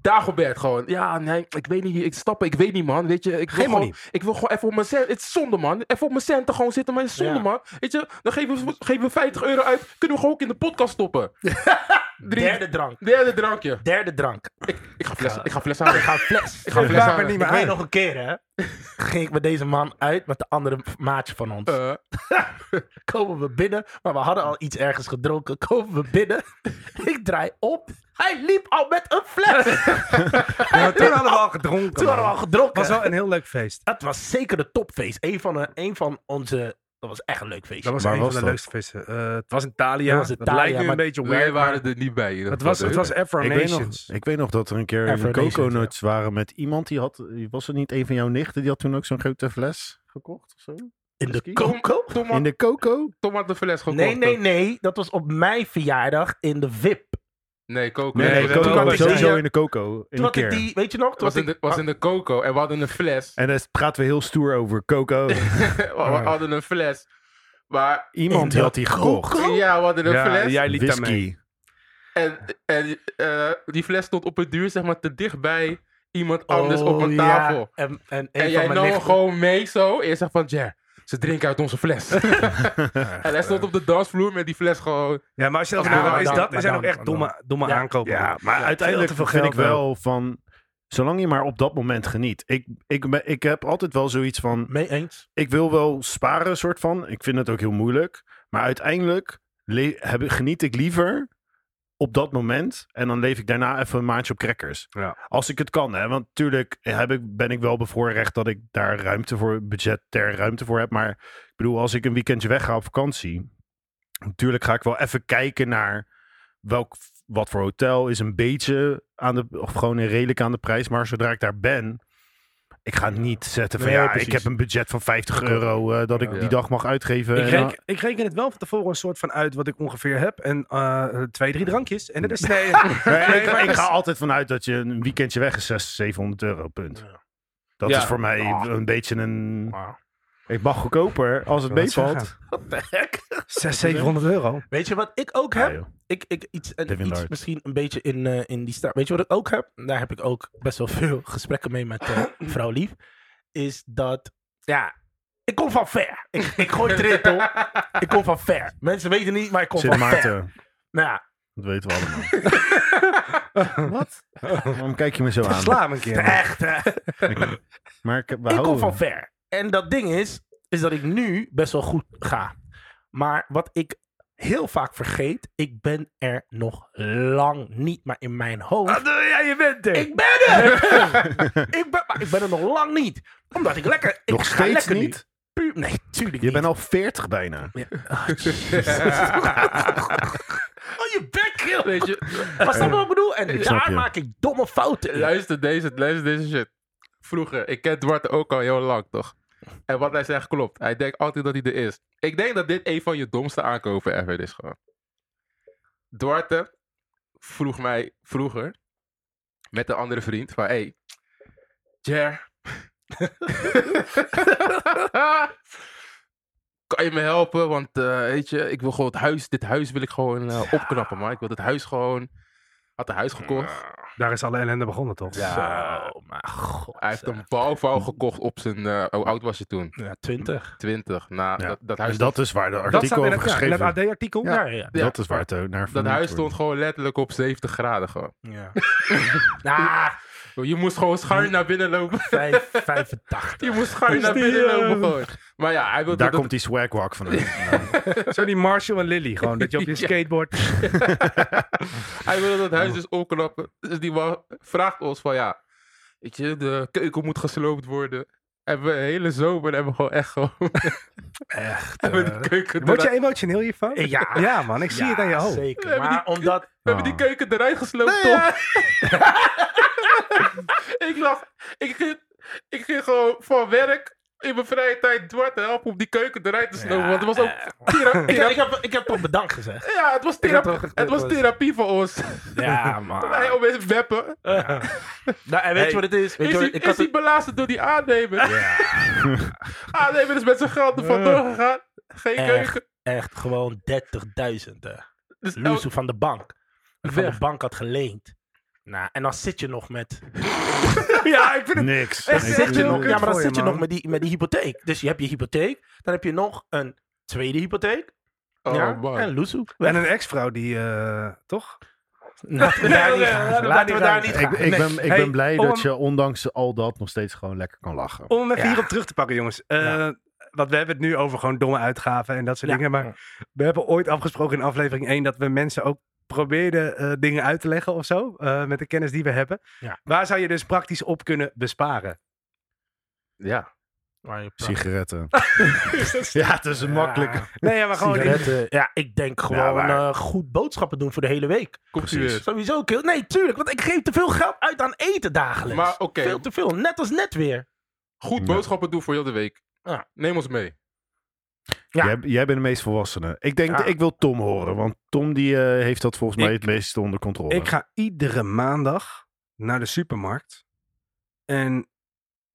Speaker 1: Dagobert gewoon. Ja, nee, ik weet niet. Ik stappen, ik weet niet, man. Weet je, ik wil,
Speaker 2: Geen
Speaker 1: gewoon,
Speaker 2: money.
Speaker 1: ik wil gewoon even op mijn cent. Het is zonde, man. Even op mijn centen gewoon zitten, maar het is zonde,
Speaker 3: Ja.
Speaker 1: man. Weet je, dan geven we, geven we 50 euro uit. Kunnen we gewoon ook in de podcast stoppen. Drie-
Speaker 3: Derde drank.
Speaker 1: derde drankje.
Speaker 3: Derde drank.
Speaker 1: Ik ga flessen, ik ga flessen halen.
Speaker 3: *laughs* Ik ga fles.
Speaker 1: Ik ga flessen
Speaker 2: Laat me
Speaker 1: halen.
Speaker 2: niet
Speaker 3: Ik
Speaker 2: meer
Speaker 3: weet
Speaker 2: uit.
Speaker 3: nog een keer, hè. *laughs* Ging ik met deze man uit met de andere maatje van ons.
Speaker 1: Eh,
Speaker 3: Komen we binnen, maar we hadden al iets ergens gedronken. Komen we binnen. *laughs* Ik draai op. Hij liep al met een fles.
Speaker 2: Ja, maar toen hadden we al gedronken.
Speaker 3: Toen hadden we al
Speaker 2: man.
Speaker 3: gedronken.
Speaker 2: was wel een heel leuk feest.
Speaker 3: Dat was zeker de topfeest. Eén van, de- één van onze... Dat was echt een leuk feestje.
Speaker 2: Dat was
Speaker 4: Waar
Speaker 2: een
Speaker 4: was
Speaker 2: van de
Speaker 4: dat?
Speaker 2: leukste feesten. Eh, het was in Thalia.
Speaker 3: Dat was in
Speaker 2: Dat
Speaker 3: Thalia,
Speaker 2: lijkt nu een
Speaker 3: maar
Speaker 2: beetje
Speaker 1: wij
Speaker 2: weird. maar
Speaker 1: waren er niet bij. in ieder
Speaker 2: Het
Speaker 1: geval,
Speaker 2: was, het
Speaker 1: hè?
Speaker 2: was Afro
Speaker 4: Ik weet, nog,
Speaker 2: Nations.
Speaker 4: ik weet nog dat er een keer in de
Speaker 3: Affirmations,
Speaker 4: Coco Nuts waren met iemand die had... Was het niet een van jouw nichten? Die had toen ook zo'n grote fles gekocht of zo?
Speaker 3: in de
Speaker 4: Misschien?
Speaker 3: Coco?
Speaker 1: Tom
Speaker 4: In
Speaker 1: had,
Speaker 4: de Coco?
Speaker 1: Tom had de fles gekocht.
Speaker 3: Nee, nee, nee. Dat was op mijn verjaardag in de VIP.
Speaker 1: Nee, Coco.
Speaker 4: Nee, nee,
Speaker 1: dat
Speaker 4: Coco,
Speaker 1: was-
Speaker 3: had ik
Speaker 4: sowieso
Speaker 3: die-
Speaker 4: in de Coco. In
Speaker 3: Toen
Speaker 4: een
Speaker 3: had ik
Speaker 4: keer.
Speaker 3: die... Weet je nog? Toen
Speaker 1: was in, de, was in de Coco en we hadden een fles.
Speaker 4: En daar praten we heel stoer over.
Speaker 1: *laughs*
Speaker 4: Coco.
Speaker 1: we hadden een fles. Maar
Speaker 4: Iemand die had die gekocht.
Speaker 1: ja, we hadden een
Speaker 2: Ja,
Speaker 1: fles.
Speaker 2: jij liet daar mee.
Speaker 4: Whisky.
Speaker 1: En, en eh, die fles stond op het duur, zeg maar, te dichtbij iemand anders op een tafel.
Speaker 3: Oh, En, en, een
Speaker 1: En
Speaker 3: van
Speaker 1: jij
Speaker 3: mijn
Speaker 1: nam hem
Speaker 3: nichten-
Speaker 1: gewoon mee zo. En je zegt van, Jer, Ze drinken uit onze
Speaker 3: *laughs*
Speaker 1: fles. *laughs* en hij stond op de dansvloer met die fles gewoon.
Speaker 2: Ja, maar als je dat
Speaker 1: Ja,
Speaker 2: nou,
Speaker 1: maar
Speaker 2: is
Speaker 1: dan-
Speaker 2: dat,
Speaker 3: maar
Speaker 2: zijn
Speaker 3: dan-
Speaker 2: ook echt
Speaker 3: dan-
Speaker 2: domme, domme
Speaker 3: Ja.
Speaker 2: aankopen.
Speaker 4: Ja, maar uiteindelijk
Speaker 2: veel te veel
Speaker 4: vind ik
Speaker 2: geld
Speaker 4: wel van... Zolang je maar op dat moment geniet. Ik, ik, ben- ik heb altijd wel zoiets van...
Speaker 3: Mee eens?
Speaker 4: Ik wil wel sparen, soort van. Ik vind het ook heel moeilijk. Maar uiteindelijk le- heb, ik- geniet ik liever op dat moment. En dan leef ik daarna even een maandje op crackers.
Speaker 2: Ja.
Speaker 4: Als ik het kan, hè. Want natuurlijk heb ik, ben ik wel bevoorrecht dat ik daar ruimte voor, budgetair ruimte voor heb. Maar ik bedoel, als ik een weekendje wegga op vakantie. Natuurlijk ga ik wel even kijken naar welk, wat voor hotel is een beetje aan de, of gewoon een redelijk aan de prijs. Maar zodra ik daar ben, ik ga niet zetten van
Speaker 1: Nee,
Speaker 4: ja,
Speaker 1: precies.
Speaker 4: ik heb een budget van 50 euro eh, dat ik
Speaker 1: Ja.
Speaker 4: die dag mag uitgeven.
Speaker 2: Ik
Speaker 4: En dan-
Speaker 2: reken, ik reken het wel van tevoren een soort van uit wat ik ongeveer heb. En eh, twee, drie drankjes. En dat is... Nee,
Speaker 4: Nee,
Speaker 2: maar
Speaker 4: ik, ik
Speaker 2: dat
Speaker 4: ga
Speaker 2: is-
Speaker 4: altijd vanuit dat je een weekendje weg is 600, 700 euro, punt. Dat
Speaker 1: Ja.
Speaker 4: is voor mij een beetje een...
Speaker 3: Wow.
Speaker 4: Ik mag goedkoper als
Speaker 2: Ik
Speaker 4: het
Speaker 2: wou net
Speaker 4: meevalt.
Speaker 2: zeggen.
Speaker 3: Wat de heck?
Speaker 2: *laughs* Zes, 700 *laughs* euro.
Speaker 3: Weet je wat ik ook
Speaker 4: Ja,
Speaker 3: heb?
Speaker 4: joh.
Speaker 3: ik, ik, iets,
Speaker 4: Devin
Speaker 3: en iets
Speaker 4: Dart.
Speaker 3: misschien een beetje in, eh, in die straat. Weet je wat ik ook heb? Daar heb ik ook best wel veel *laughs* gesprekken mee met eh, vrouw Lief. Is dat, ja, ik kom van ver. Ik, ik gooi het erin, toch? Ik kom van ver. Mensen weten niet, maar ik kom
Speaker 4: Sint
Speaker 3: van ver.
Speaker 4: Maarten,
Speaker 3: Nou ja,
Speaker 4: dat weten we allemaal. Wat? Waarom kijk je me zo aan?
Speaker 2: Sla hem een keer.
Speaker 3: echt, hè?
Speaker 4: Ik- Maar ik, we
Speaker 3: Ik kom
Speaker 4: houden-
Speaker 3: van ver. En dat ding is, is dat ik nu best wel goed ga. Maar wat ik heel vaak vergeet, ik ben er nog lang niet. Maar in mijn hoofd
Speaker 2: Ja, je bent er.
Speaker 3: Ik ben er! ik, ben, maar ik ben er nog lang niet. Omdat ik lekker. Ik
Speaker 4: Nog
Speaker 3: ga
Speaker 4: steeds
Speaker 3: lekker nu.
Speaker 4: niet?
Speaker 3: Puur, nee, tuurlijk
Speaker 4: Je bent al 40 bijna.
Speaker 3: Oh, je bek, joh.
Speaker 1: Weet je,
Speaker 3: Maar snap je wat ik bedoel? En
Speaker 4: snap
Speaker 3: daar
Speaker 4: je.
Speaker 3: maak ik domme fouten. in.
Speaker 1: luister deze, luister deze shit. Vroeger, ik ken Duarte ook al heel lang, toch? En wat hij zegt klopt. Hij denkt altijd dat hij er is. Ik denk dat dit een van je domste aankopen ever is gewoon. Duarte vroeg mij vroeger met een andere vriend van, hey, Jer, *laughs* kan je me helpen? Want eh, weet je, ik wil gewoon het huis, dit huis wil ik gewoon eh, opknappen, man. Ik wil het huis gewoon, had een huis gekocht.
Speaker 2: Daar is alle ellende begonnen, toch?
Speaker 3: Zo, maar god.
Speaker 1: Hij heeft een bouwvouw gekocht op zijn. eh, hoe oud was je toen?
Speaker 3: Ja, 20.
Speaker 1: 20. Nou,
Speaker 4: Ja.
Speaker 1: dat, dat
Speaker 4: En
Speaker 1: huis,
Speaker 4: Dus dat is waar de
Speaker 2: Dat staat
Speaker 4: artikel
Speaker 2: in
Speaker 4: over
Speaker 2: het, ja, in
Speaker 4: geschreven
Speaker 2: het
Speaker 4: wordt.
Speaker 2: AD-artikel.
Speaker 3: Ja, ja.
Speaker 1: ja.
Speaker 4: Dat is waar het ook naar
Speaker 1: dat
Speaker 4: vernoemd
Speaker 1: huis stond
Speaker 4: wordt.
Speaker 1: gewoon letterlijk op 70 graden. Gewoon.
Speaker 3: ja. *laughs* Nou,
Speaker 1: Je moest gewoon schuin naar binnen lopen. *laughs*
Speaker 3: vijf- 85.
Speaker 1: Je moest schuin
Speaker 2: Is
Speaker 1: naar
Speaker 2: die,
Speaker 1: binnen
Speaker 2: eh,
Speaker 1: lopen. Gewoon. Maar ja, hij wilde
Speaker 4: Daar
Speaker 1: dat.
Speaker 4: komt die swagwalk van. Nou,
Speaker 2: Zo die Marshall en Lily. Gewoon dat je op je
Speaker 3: *laughs*
Speaker 1: Ja.
Speaker 2: skateboard...
Speaker 1: Hij wilde dat huis dus opknappen. Dus die man vraagt ons van ja, weet je, de keuken moet gesloopt worden. En we de hele zomer hebben we gewoon echt gewoon *laughs*
Speaker 3: Echt.
Speaker 1: hebben we
Speaker 3: eh,
Speaker 1: die keuken
Speaker 2: Word je
Speaker 1: eruit-
Speaker 2: emotioneel hiervan?
Speaker 3: Ja.
Speaker 2: *laughs* Ja, man. Ik zie
Speaker 3: ja,
Speaker 2: het aan je hoofd.
Speaker 1: We
Speaker 3: Zeker.
Speaker 1: hebben
Speaker 3: Maar
Speaker 1: die-
Speaker 3: omdat.
Speaker 1: we hebben die keuken eruit gesloopt,
Speaker 4: Nee,
Speaker 1: toch?
Speaker 4: ja.
Speaker 1: *laughs* ik lag. Ik ging, ik ging gewoon van werk in mijn vrije tijd Duarte helpen om die keuken eruit te slopen. Want het was ook.
Speaker 3: eh,
Speaker 1: Thera-
Speaker 3: *laughs* Ik,
Speaker 1: thera-
Speaker 3: ik heb, ik heb toch bedankt gezegd.
Speaker 1: ja, het was,
Speaker 2: heb
Speaker 1: thera-
Speaker 2: toch-
Speaker 1: het was
Speaker 2: was-
Speaker 1: therapie voor ons. *laughs*
Speaker 3: Ja, man. *laughs*
Speaker 1: Wij om eens weppen.
Speaker 3: Nou, en weet je wat het is? Weet
Speaker 1: Is
Speaker 3: je
Speaker 1: hij,
Speaker 3: wat, ik
Speaker 1: is
Speaker 3: had
Speaker 1: hij
Speaker 3: het...
Speaker 1: belazerd door die aannemer? *laughs* Aannemer is met zijn geld er vandoor gegaan. Geen
Speaker 3: Eh. Echt,
Speaker 1: keuken.
Speaker 3: echt gewoon 30.000. hè.
Speaker 1: Dus elk-
Speaker 3: Loesoe van de bank. Die van de
Speaker 1: Weg.
Speaker 3: bank had geleend. Nou, en dan zit je nog met.
Speaker 1: *laughs*
Speaker 2: Ja, ik vind het...
Speaker 4: Niks.
Speaker 2: Echt,
Speaker 4: Ik-
Speaker 2: zit je
Speaker 4: ik-
Speaker 2: nog-
Speaker 3: ja, maar dan
Speaker 2: voor je,
Speaker 3: zit je
Speaker 2: man.
Speaker 3: nog met die, met die hypotheek. Dus je hebt je hypotheek. Dan heb je nog een tweede hypotheek.
Speaker 1: Oh
Speaker 3: ja,
Speaker 1: man.
Speaker 3: En Loesoe.
Speaker 2: En een ex-vrouw die... eh, toch?
Speaker 3: Laten we daar
Speaker 2: Nee,
Speaker 3: niet
Speaker 2: nee,
Speaker 3: gaan.
Speaker 2: laten we
Speaker 3: Laten we
Speaker 2: daar
Speaker 3: daar
Speaker 2: niet
Speaker 3: niet
Speaker 4: Ik,
Speaker 3: gaan.
Speaker 4: ik, ben, ik
Speaker 2: Hey,
Speaker 4: ben blij
Speaker 2: om-
Speaker 4: dat je ondanks al dat nog steeds gewoon lekker kan lachen.
Speaker 2: Om hem even
Speaker 3: Ja.
Speaker 2: hierop terug te pakken, jongens. Eh, Want we hebben het nu over gewoon domme uitgaven en dat soort
Speaker 3: Ja.
Speaker 2: dingen. Maar we hebben ooit afgesproken in aflevering 1 dat we mensen ook probeerden eh, dingen uit te leggen of zo. eh, met de kennis die we hebben.
Speaker 3: Ja.
Speaker 2: Waar zou je dus praktisch op kunnen besparen?
Speaker 1: Ja.
Speaker 3: Maar je praat-
Speaker 2: *laughs*
Speaker 4: Sigaretten. ja, het is een makkelijke.
Speaker 2: Nee, maar gewoon.
Speaker 3: Sigaretten. Ja, ik denk gewoon
Speaker 4: maar-
Speaker 3: eh, goed boodschappen doen voor de hele week.
Speaker 1: Komt hij weer.
Speaker 3: Sowieso. kill- Nee, tuurlijk. Want ik geef te veel geld uit aan eten dagelijks.
Speaker 1: Maar oké.
Speaker 3: Veel te veel. Net als net weer.
Speaker 1: Goed boodschappen doen voor heel de week. Ah,
Speaker 3: Ja.
Speaker 1: Neem ons mee.
Speaker 3: *laughs* Ja.
Speaker 4: Jij, jij bent de meest volwassene. Ik denk,
Speaker 3: Ja.
Speaker 4: ik wil Tom horen, want Tom die eh, heeft dat volgens mij
Speaker 2: Ik-
Speaker 4: het meeste onder controle.
Speaker 2: Ik ga iedere maandag naar de supermarkt. En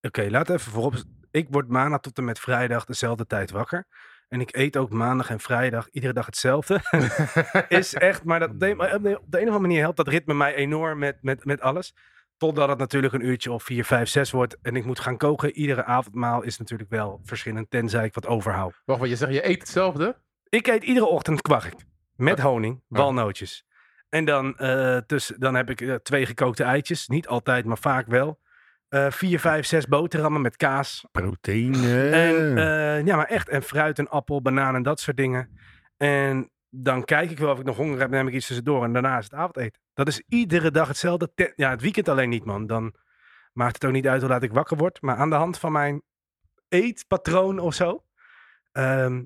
Speaker 2: oké, laat even voorop. Ik word maandag tot en met vrijdag dezelfde tijd wakker. En ik eet ook maandag en vrijdag iedere dag hetzelfde. *laughs* is echt, maar dat, op de- op de op de een of andere manier helpt dat ritme mij enorm met, met, met alles. Totdat het natuurlijk een uurtje of 4, 5, 6 wordt en ik moet gaan koken. Iedere avondmaal is natuurlijk wel verschillend, tenzij ik wat overhoud.
Speaker 1: Wacht, wat je zegt, je eet hetzelfde?
Speaker 2: Ik eet iedere ochtend kwark met honing, walnootjes. En dan, eh, tussen, dan heb ik eh, twee gekookte eitjes. Niet altijd, maar vaak wel. Eh vier, vijf, zes boterhammen met kaas.
Speaker 4: Proteïne.
Speaker 2: En, eh, ja, maar echt. En fruit en appel, banaan en dat soort dingen. En dan kijk ik wel of ik nog honger heb. Dan neem ik iets tussendoor. En daarna is het avondeten. Dat is iedere dag hetzelfde. Te- Ja, het weekend alleen niet, man. Dan maakt het ook niet uit hoe laat ik wakker word. Maar aan de hand van mijn eetpatroon of zo. ehm,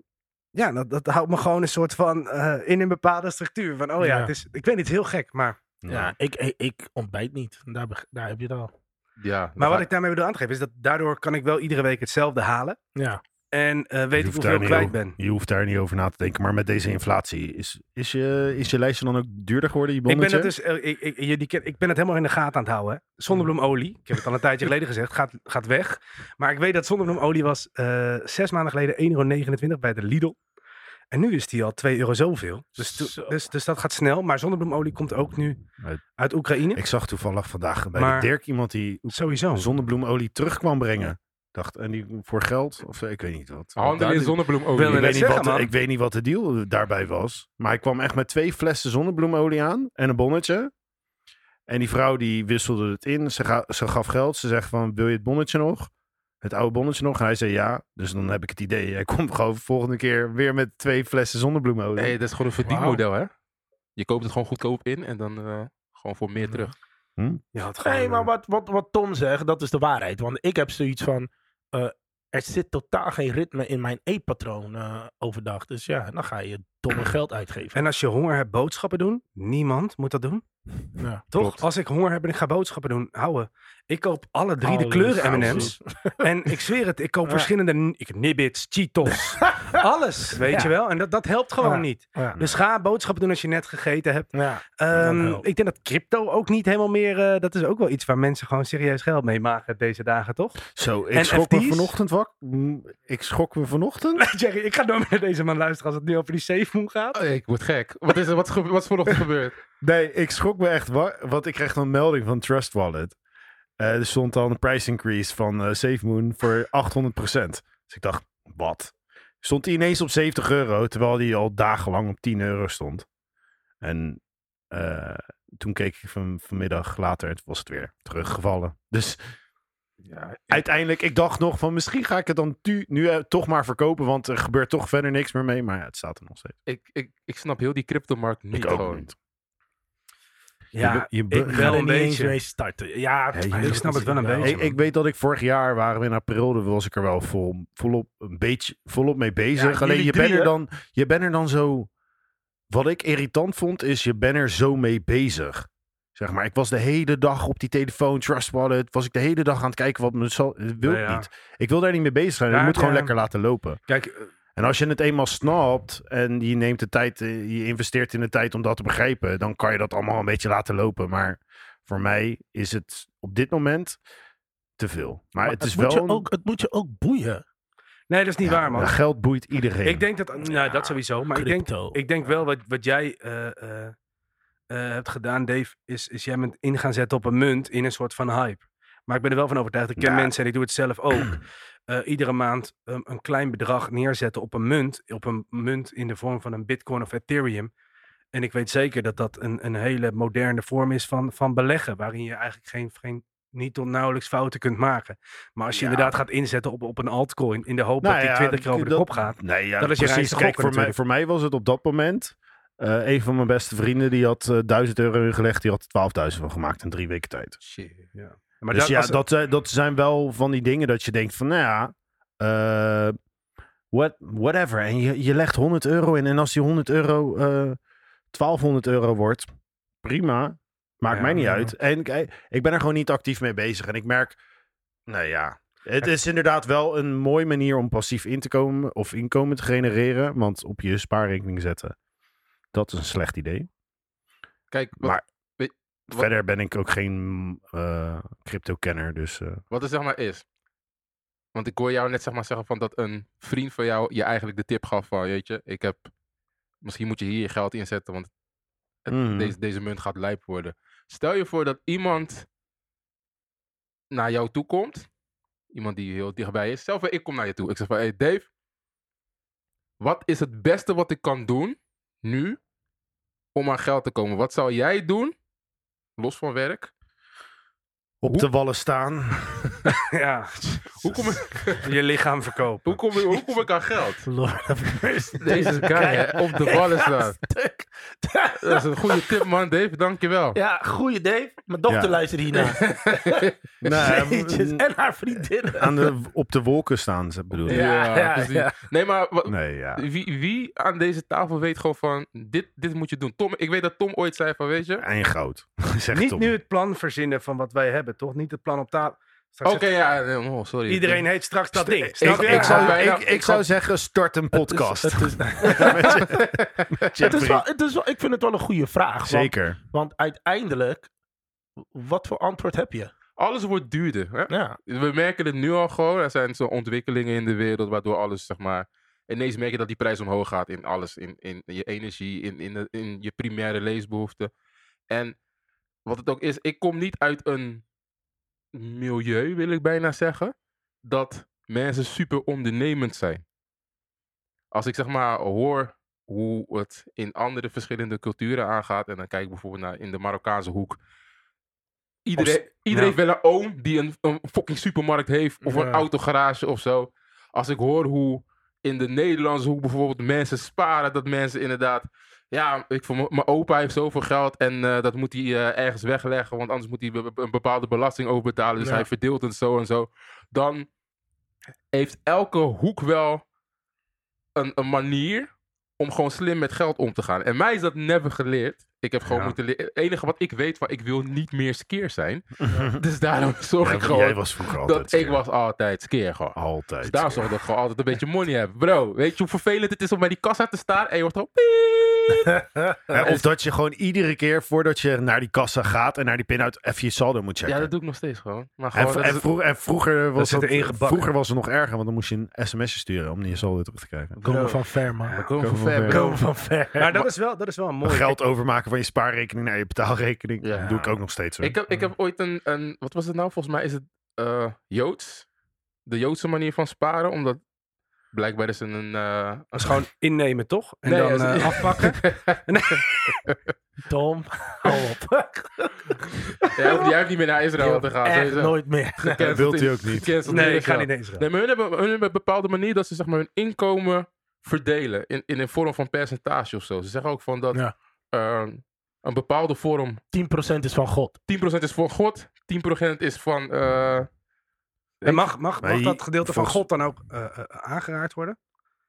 Speaker 2: ja, dat, dat houdt me gewoon een soort van eh, in een bepaalde structuur. Van, oh ja,
Speaker 3: Ja.
Speaker 2: Het is, ik weet niet, het is heel gek. Maar,
Speaker 4: Ja.
Speaker 3: Ja, ik, ik, ik ontbijt niet. Daar, beg- daar heb je het al.
Speaker 1: Ja.
Speaker 2: maar wat ik daarmee bedoel aan te geven is dat daardoor kan ik wel iedere week hetzelfde halen.
Speaker 3: Ja,
Speaker 2: En eh, weet ik
Speaker 4: hoeft
Speaker 2: hoeveel
Speaker 4: daar
Speaker 2: ik
Speaker 4: niet
Speaker 2: kwijt
Speaker 4: over-
Speaker 2: ben.
Speaker 4: Je hoeft daar niet over na te denken. Maar met deze inflatie, is, is, je, is je lijstje dan ook duurder geworden? Je
Speaker 2: Ik ben,
Speaker 4: bonnetje?
Speaker 2: het dus, eh, ik, ik, jullie ken- ik ben het helemaal in de gaten aan het houden. hè. Zonnebloemolie, ik heb het al een tijdje geleden gezegd, gaat, gaat weg. Maar ik weet dat zonnebloemolie was eh, zes maanden geleden 1,29 euro bij de Lidl. En nu is die al 2 euro zoveel. Dus, to-
Speaker 3: Zo.
Speaker 2: dus, dus dat gaat snel. Maar zonnebloemolie komt ook nu
Speaker 4: Uit-
Speaker 2: uit Oekraïne.
Speaker 4: Ik zag toevallig vandaag bij
Speaker 2: Maar- Oh.
Speaker 4: de Dirk iemand die
Speaker 2: Sowieso.
Speaker 4: zonnebloemolie terug kwam brengen. Dacht, en die voor geld, of eh, ik weet niet wat.
Speaker 1: Handel in
Speaker 4: Daar-
Speaker 1: zonnebloemolie.
Speaker 2: Wil
Speaker 4: Ik
Speaker 2: je-
Speaker 1: Oké,
Speaker 4: weet,
Speaker 2: net
Speaker 4: niet
Speaker 2: zeggen,
Speaker 4: wat,
Speaker 2: man.
Speaker 4: ik weet niet wat de deal daarbij was. Maar hij kwam echt met twee flessen zonnebloemolie aan en een bonnetje. En die vrouw die wisselde het in. Ze, ga- ze gaf geld. Ze zegt van, wil je het bonnetje nog? Het oude bonnetje nog? En hij zei ja. Dus dan heb ik het idee. Hij *laughs* komt gewoon volgende keer weer met twee flessen zonnebloemolie.
Speaker 1: hey, dat is gewoon een verdienmodel, hè? Je koopt het gewoon goedkoop in en dan eh, gewoon voor meer terug.
Speaker 2: Je had gewoon,
Speaker 3: nee, maar
Speaker 2: eh,
Speaker 3: wat, wat, wat Tom zegt, dat is de waarheid. Want ik heb zoiets van, eh, er zit totaal geen ritme in mijn eetpatroon eh, overdag. Dus ja, dan ga je domme geld uitgeven.
Speaker 2: En als je honger hebt, boodschappen doen. Niemand moet dat doen.
Speaker 3: Ja.
Speaker 2: Toch?
Speaker 1: Klopt.
Speaker 2: Als ik honger heb en ik ga boodschappen doen, houden. Ik koop alle drie de
Speaker 3: Alles
Speaker 2: kleuren
Speaker 3: goud.
Speaker 2: M&M's.
Speaker 3: *laughs*
Speaker 2: En ik zweer het, ik koop
Speaker 3: Ja.
Speaker 2: verschillende... Ik heb nibbits,
Speaker 3: *laughs*
Speaker 2: Cheetos, alles, weet
Speaker 3: Ja.
Speaker 2: je wel. En dat, dat helpt gewoon
Speaker 3: Ja.
Speaker 2: niet.
Speaker 3: Ja.
Speaker 2: Dus ga boodschappen doen als je net gegeten hebt.
Speaker 3: Ja.
Speaker 2: Ehm,
Speaker 3: helpt.
Speaker 2: ik denk dat crypto ook niet helemaal meer... eh, dat is ook wel iets waar mensen gewoon serieus geld mee maken deze dagen, toch? *laughs*
Speaker 4: Zo, ik
Speaker 2: En
Speaker 4: schrok me
Speaker 2: FT's?
Speaker 4: vanochtend wakker. Ik schrok me vanochtend.
Speaker 2: Jerry, ik ga nooit meer deze man luisteren als het nu over die safe moon gaat.
Speaker 1: Oh, ik word gek. Wat is er wat is gebe- wat is *laughs* vanochtend gebeurd?
Speaker 4: Nee, ik schrok me echt. wa- Want ik kreeg dan een melding van Trust Wallet. Eh, er stond dan een price increase van eh SafeMoon voor 800%. Dus ik dacht, wat? Stond die ineens op 70 euro, terwijl die al dagenlang op 10 euro stond. En eh, toen keek ik van, vanmiddag later, het was het weer teruggevallen. Dus
Speaker 1: Ja,
Speaker 4: uiteindelijk, ik dacht nog van misschien ga ik het dan tu- nu eh, toch maar verkopen, want er gebeurt toch verder niks meer mee. Maar ja, het staat er nog steeds.
Speaker 1: ik, ik, ik snap heel die cryptomarkt niet
Speaker 4: ik ook
Speaker 1: gewoon.
Speaker 4: niet.
Speaker 2: Ja,
Speaker 4: je, be-
Speaker 3: Ik
Speaker 4: je
Speaker 2: een
Speaker 3: wil er niet eens
Speaker 2: beetje.
Speaker 3: mee starten. Ja,
Speaker 4: Hey,
Speaker 3: maar
Speaker 4: ik
Speaker 2: snap het wel een beetje.
Speaker 4: Hey, ik weet dat ik vorig jaar waren we in april, daar was ik er wel vol, volop, een beetje, volop mee
Speaker 1: Ja,
Speaker 4: bezig. Alleen
Speaker 1: jullie
Speaker 4: je bent
Speaker 1: drie,
Speaker 4: er
Speaker 1: hè?
Speaker 4: dan, je bent er dan zo. Wat ik irritant vond, is je bent er zo mee bezig. Zeg maar, ik was de hele dag op die telefoon, Trust Wallet, was ik de hele dag aan het kijken wat me zal. het Wil
Speaker 2: Nou ja.
Speaker 4: niet. Ik wil daar niet mee bezig zijn. Ik
Speaker 2: Ja,
Speaker 4: moet gewoon
Speaker 2: ja.
Speaker 4: lekker laten lopen.
Speaker 2: Kijk, eh,
Speaker 4: En als je het eenmaal snapt en je neemt de tijd, eh, je investeert in de tijd om dat te begrijpen, dan kan je dat allemaal een beetje laten lopen. Maar voor mij is het op dit moment te veel. Maar,
Speaker 3: Maar
Speaker 4: het is
Speaker 3: moet
Speaker 4: wel.
Speaker 3: je ook, het moet je ook boeien.
Speaker 2: nee, dat is niet
Speaker 4: Ja,
Speaker 2: waar, man.
Speaker 4: maar Geld boeit iedereen.
Speaker 2: Ik denk dat... Nou, dat sowieso. Maar ik denk
Speaker 3: Crypto.
Speaker 2: Ik denk wel wat, wat jij eh, eh, eh, hebt gedaan, Dave, is, is jij bent in gaan zetten op een munt in een soort van hype. Maar ik ben er wel van overtuigd. Ik ken
Speaker 4: Nou.
Speaker 2: mensen en ik doe het zelf ook.
Speaker 4: *clears throat*
Speaker 2: eh, iedere maand um, een klein bedrag neerzetten op een munt. Op een munt in de vorm van een Bitcoin of Ethereum. En ik weet zeker dat dat een, een hele moderne vorm is van, van beleggen. Waarin je eigenlijk geen, geen, niet tot nauwelijks fouten kunt maken. Maar als je
Speaker 4: Ja.
Speaker 2: inderdaad gaat inzetten op, op een altcoin. in de hoop
Speaker 4: Nou
Speaker 2: dat die
Speaker 4: ja,
Speaker 2: 20 keer over de
Speaker 4: dat-
Speaker 2: kop gaat.
Speaker 4: Nee, ja,
Speaker 2: Dat is je
Speaker 4: precies.
Speaker 2: reinste
Speaker 4: Kijk,
Speaker 2: gokken
Speaker 4: voor mij,
Speaker 2: natuurlijk.
Speaker 4: voor mij was het op dat moment. eh, een van mijn beste vrienden die had eh, 1000 euro ingelegd, die had er 12.000 van gemaakt in drie weken tijd.
Speaker 1: Shit.
Speaker 2: Maar
Speaker 4: dus
Speaker 2: dat,
Speaker 4: ja,
Speaker 2: als-
Speaker 4: dat, zijn- dat zijn wel van die dingen dat je denkt van, nou ja, eh, what, whatever. En je, je legt 100 euro in en als die 100 euro eh, 1200 euro wordt, prima. Maakt
Speaker 2: Ja,
Speaker 4: mij niet
Speaker 2: ja.
Speaker 4: uit. En ik, eh, ik ben er gewoon niet actief mee bezig. En ik merk, nou ja, het is inderdaad wel een mooie manier om passief in te komen of inkomen te genereren. Want op je spaarrekening zetten, dat is een slecht idee.
Speaker 1: Kijk, wat,
Speaker 4: Maar-
Speaker 1: Wat-
Speaker 4: Verder ben ik ook geen eh, crypto-kenner, dus... eh,
Speaker 1: wat het zeg maar is. Want ik hoor jou net zeg maar zeggen van dat een vriend van jou je eigenlijk de tip gaf van, weet je, ik heb, misschien moet je hier je geld inzetten, want
Speaker 4: mhm.
Speaker 1: deze, deze munt gaat lijp worden. Stel je voor dat iemand naar jou toe komt. Iemand die heel dichtbij is. Zelf, ik kom naar je toe. Ik zeg van, hey Dave. Wat is het beste wat ik kan doen nu om aan geld te komen? Wat zou jij doen, los van werk?
Speaker 4: Op
Speaker 1: Hoe-
Speaker 4: de wallen staan.
Speaker 2: *laughs* ja,
Speaker 1: Hoe kom ik,
Speaker 2: je lichaam verkopen.
Speaker 1: hoe kom ik, hoe kom ik aan geld?
Speaker 3: Lord of mercy. *laughs*
Speaker 1: Deze guy hè, op de ballen staan. *laughs* Dat is een goede tip, man, Dave. Dankjewel.
Speaker 3: Ja, goeie Dave. Mijn dochter
Speaker 4: Ja. mm.
Speaker 3: luistert hiernaar. *laughs*
Speaker 4: Nee,
Speaker 3: Jeetjes,
Speaker 4: m-
Speaker 3: en haar vriendinnen.
Speaker 4: aan de, op de wolken staan, ze bedoelen.
Speaker 3: Ja, ja,
Speaker 1: precies.
Speaker 3: ja.
Speaker 1: Nee, maar wa-
Speaker 4: Nee, ja.
Speaker 1: wie, wie aan deze tafel weet gewoon van, dit, dit moet je doen. Tom, ik weet dat Tom ooit zei van, weet je...
Speaker 4: En *laughs* groot. Zegt
Speaker 2: Niet
Speaker 4: Tom.
Speaker 2: nu het plan verzinnen van wat wij hebben, toch? Niet het plan op tafel.
Speaker 1: Oké,
Speaker 2: Straks zegt-
Speaker 1: ja, eh, oh, sorry.
Speaker 2: Iedereen heet straks dat
Speaker 4: Ik,
Speaker 2: ding.
Speaker 4: ik,
Speaker 2: Snap je?
Speaker 4: ik zou,
Speaker 1: bijna-
Speaker 4: ik, ik
Speaker 1: ik
Speaker 4: zou
Speaker 1: had-
Speaker 4: zeggen, start een *laughs* podcast.
Speaker 3: Dus
Speaker 4: *laughs*
Speaker 3: Het is, het is,
Speaker 4: Met je-
Speaker 3: het is
Speaker 4: Jeffrey.
Speaker 3: wel, het is wel, ik vind het wel een goede vraag. want-
Speaker 4: Zeker.
Speaker 3: Want uiteindelijk, wat voor antwoord heb je?
Speaker 1: Alles wordt duurder. Hè?
Speaker 3: Ja,
Speaker 1: We merken het nu al gewoon. Er zijn zo'n ontwikkelingen in de wereld waardoor alles, zeg maar... Ineens merk je dat die prijs omhoog gaat in alles. In, in je energie, in, in, de- in je primaire leesbehoeften. En wat het ook is, ik kom niet uit een milieu, wil ik bijna zeggen, dat mensen super ondernemend zijn. Als ik zeg maar hoor hoe het in andere verschillende culturen aangaat, en dan kijk ik bijvoorbeeld naar in de Marokkaanse hoek. Iedereen, iedereen heeft wel een oom die een, een fucking supermarkt heeft of
Speaker 2: Ja.
Speaker 1: een autogarage of zo. Als ik hoor hoe in de Nederlandse hoek bijvoorbeeld mensen sparen, dat mensen inderdaad ja, ik vond m- mijn opa heeft zoveel geld en eh, dat moet hij eh, ergens wegleggen, want anders moet hij be- be- een bepaalde belasting overbetalen. Dus
Speaker 3: Ja.
Speaker 1: hij verdeelt het zo en zo. Dan heeft elke hoek wel een, een manier om gewoon slim met geld om te gaan. En mij is dat never geleerd. Ik heb gewoon
Speaker 2: Ja.
Speaker 1: moeten leren. Het enige wat ik weet van, ik wil niet meer skeer
Speaker 4: *laughs*
Speaker 1: zijn. Dus daarom zorg ik
Speaker 4: Ja,
Speaker 1: gewoon
Speaker 4: jij was vroeger altijd.
Speaker 1: dat ik
Speaker 4: skeer.
Speaker 1: was altijd skeer gewoon.
Speaker 4: Altijd.
Speaker 1: Dus daarom zorg ik dat ik gewoon altijd een beetje money heb. Bro, weet je hoe vervelend het is om bij die kassa te staan en je hoort
Speaker 4: *laughs*
Speaker 1: gewoon piep.
Speaker 4: Hè, of dat je gewoon iedere keer voordat je naar die kassa gaat en naar die pinuit even je saldo moet checken.
Speaker 1: Ja, dat doe ik nog steeds gewoon. Maar
Speaker 4: en,
Speaker 1: gewoon, dat
Speaker 4: en
Speaker 1: is-
Speaker 4: vroeg- en vroeger, was
Speaker 2: zit
Speaker 4: dat,
Speaker 2: erin gebakken.
Speaker 4: vroeger was het nog erger, want dan moest je een sms'je sturen om je saldo terug te krijgen.
Speaker 3: komen van ver, man.
Speaker 1: Komen
Speaker 4: Komen
Speaker 1: van ver,
Speaker 4: van ver.
Speaker 1: bro.
Speaker 3: Komen van ver. *laughs*
Speaker 2: Maar dat is wel, dat is wel een mooi.
Speaker 4: Geld overmaken van je spaarrekening naar je betaalrekening.
Speaker 1: Ja.
Speaker 4: Dat doe ik ook nog steeds. hoor.
Speaker 1: Ik heb, ik heb ooit een, een... Wat was het nou? Volgens mij is het eh, Joods. De Joodse manier van sparen. Omdat blijkbaar is er een... eh,
Speaker 2: Dat is
Speaker 1: *laughs*
Speaker 2: gewoon innemen, toch? En
Speaker 1: Nee,
Speaker 2: dan
Speaker 1: dat is-
Speaker 2: eh, *laughs* afpakken.
Speaker 3: Tom, hou
Speaker 2: *laughs*
Speaker 3: op.
Speaker 1: jij, hoeft, jij hoeft niet meer naar Israël te gaan.
Speaker 3: Echt
Speaker 1: sowieso.
Speaker 3: nooit meer.
Speaker 1: Gecanceld
Speaker 4: Wilt
Speaker 1: is-
Speaker 4: hij ook niet.
Speaker 1: gecanceld
Speaker 2: Nee,
Speaker 1: is
Speaker 2: ik ga
Speaker 1: Israël.
Speaker 2: niet naar Israël.
Speaker 1: Nee, maar hun hebben, hun hebben een bepaalde manier dat ze zeg maar, hun inkomen verdelen. In, in een vorm van percentage of zo. Ze zeggen ook van dat...
Speaker 3: Ja.
Speaker 1: eh, een bepaalde vorm
Speaker 3: 10% is van God.
Speaker 1: 10% is voor God, 10% is van. eh,
Speaker 2: En mag, mag,
Speaker 4: Maar
Speaker 2: mag
Speaker 4: je-
Speaker 2: dat gedeelte van
Speaker 4: volgens-
Speaker 2: God dan ook eh, eh, aangeraakt worden?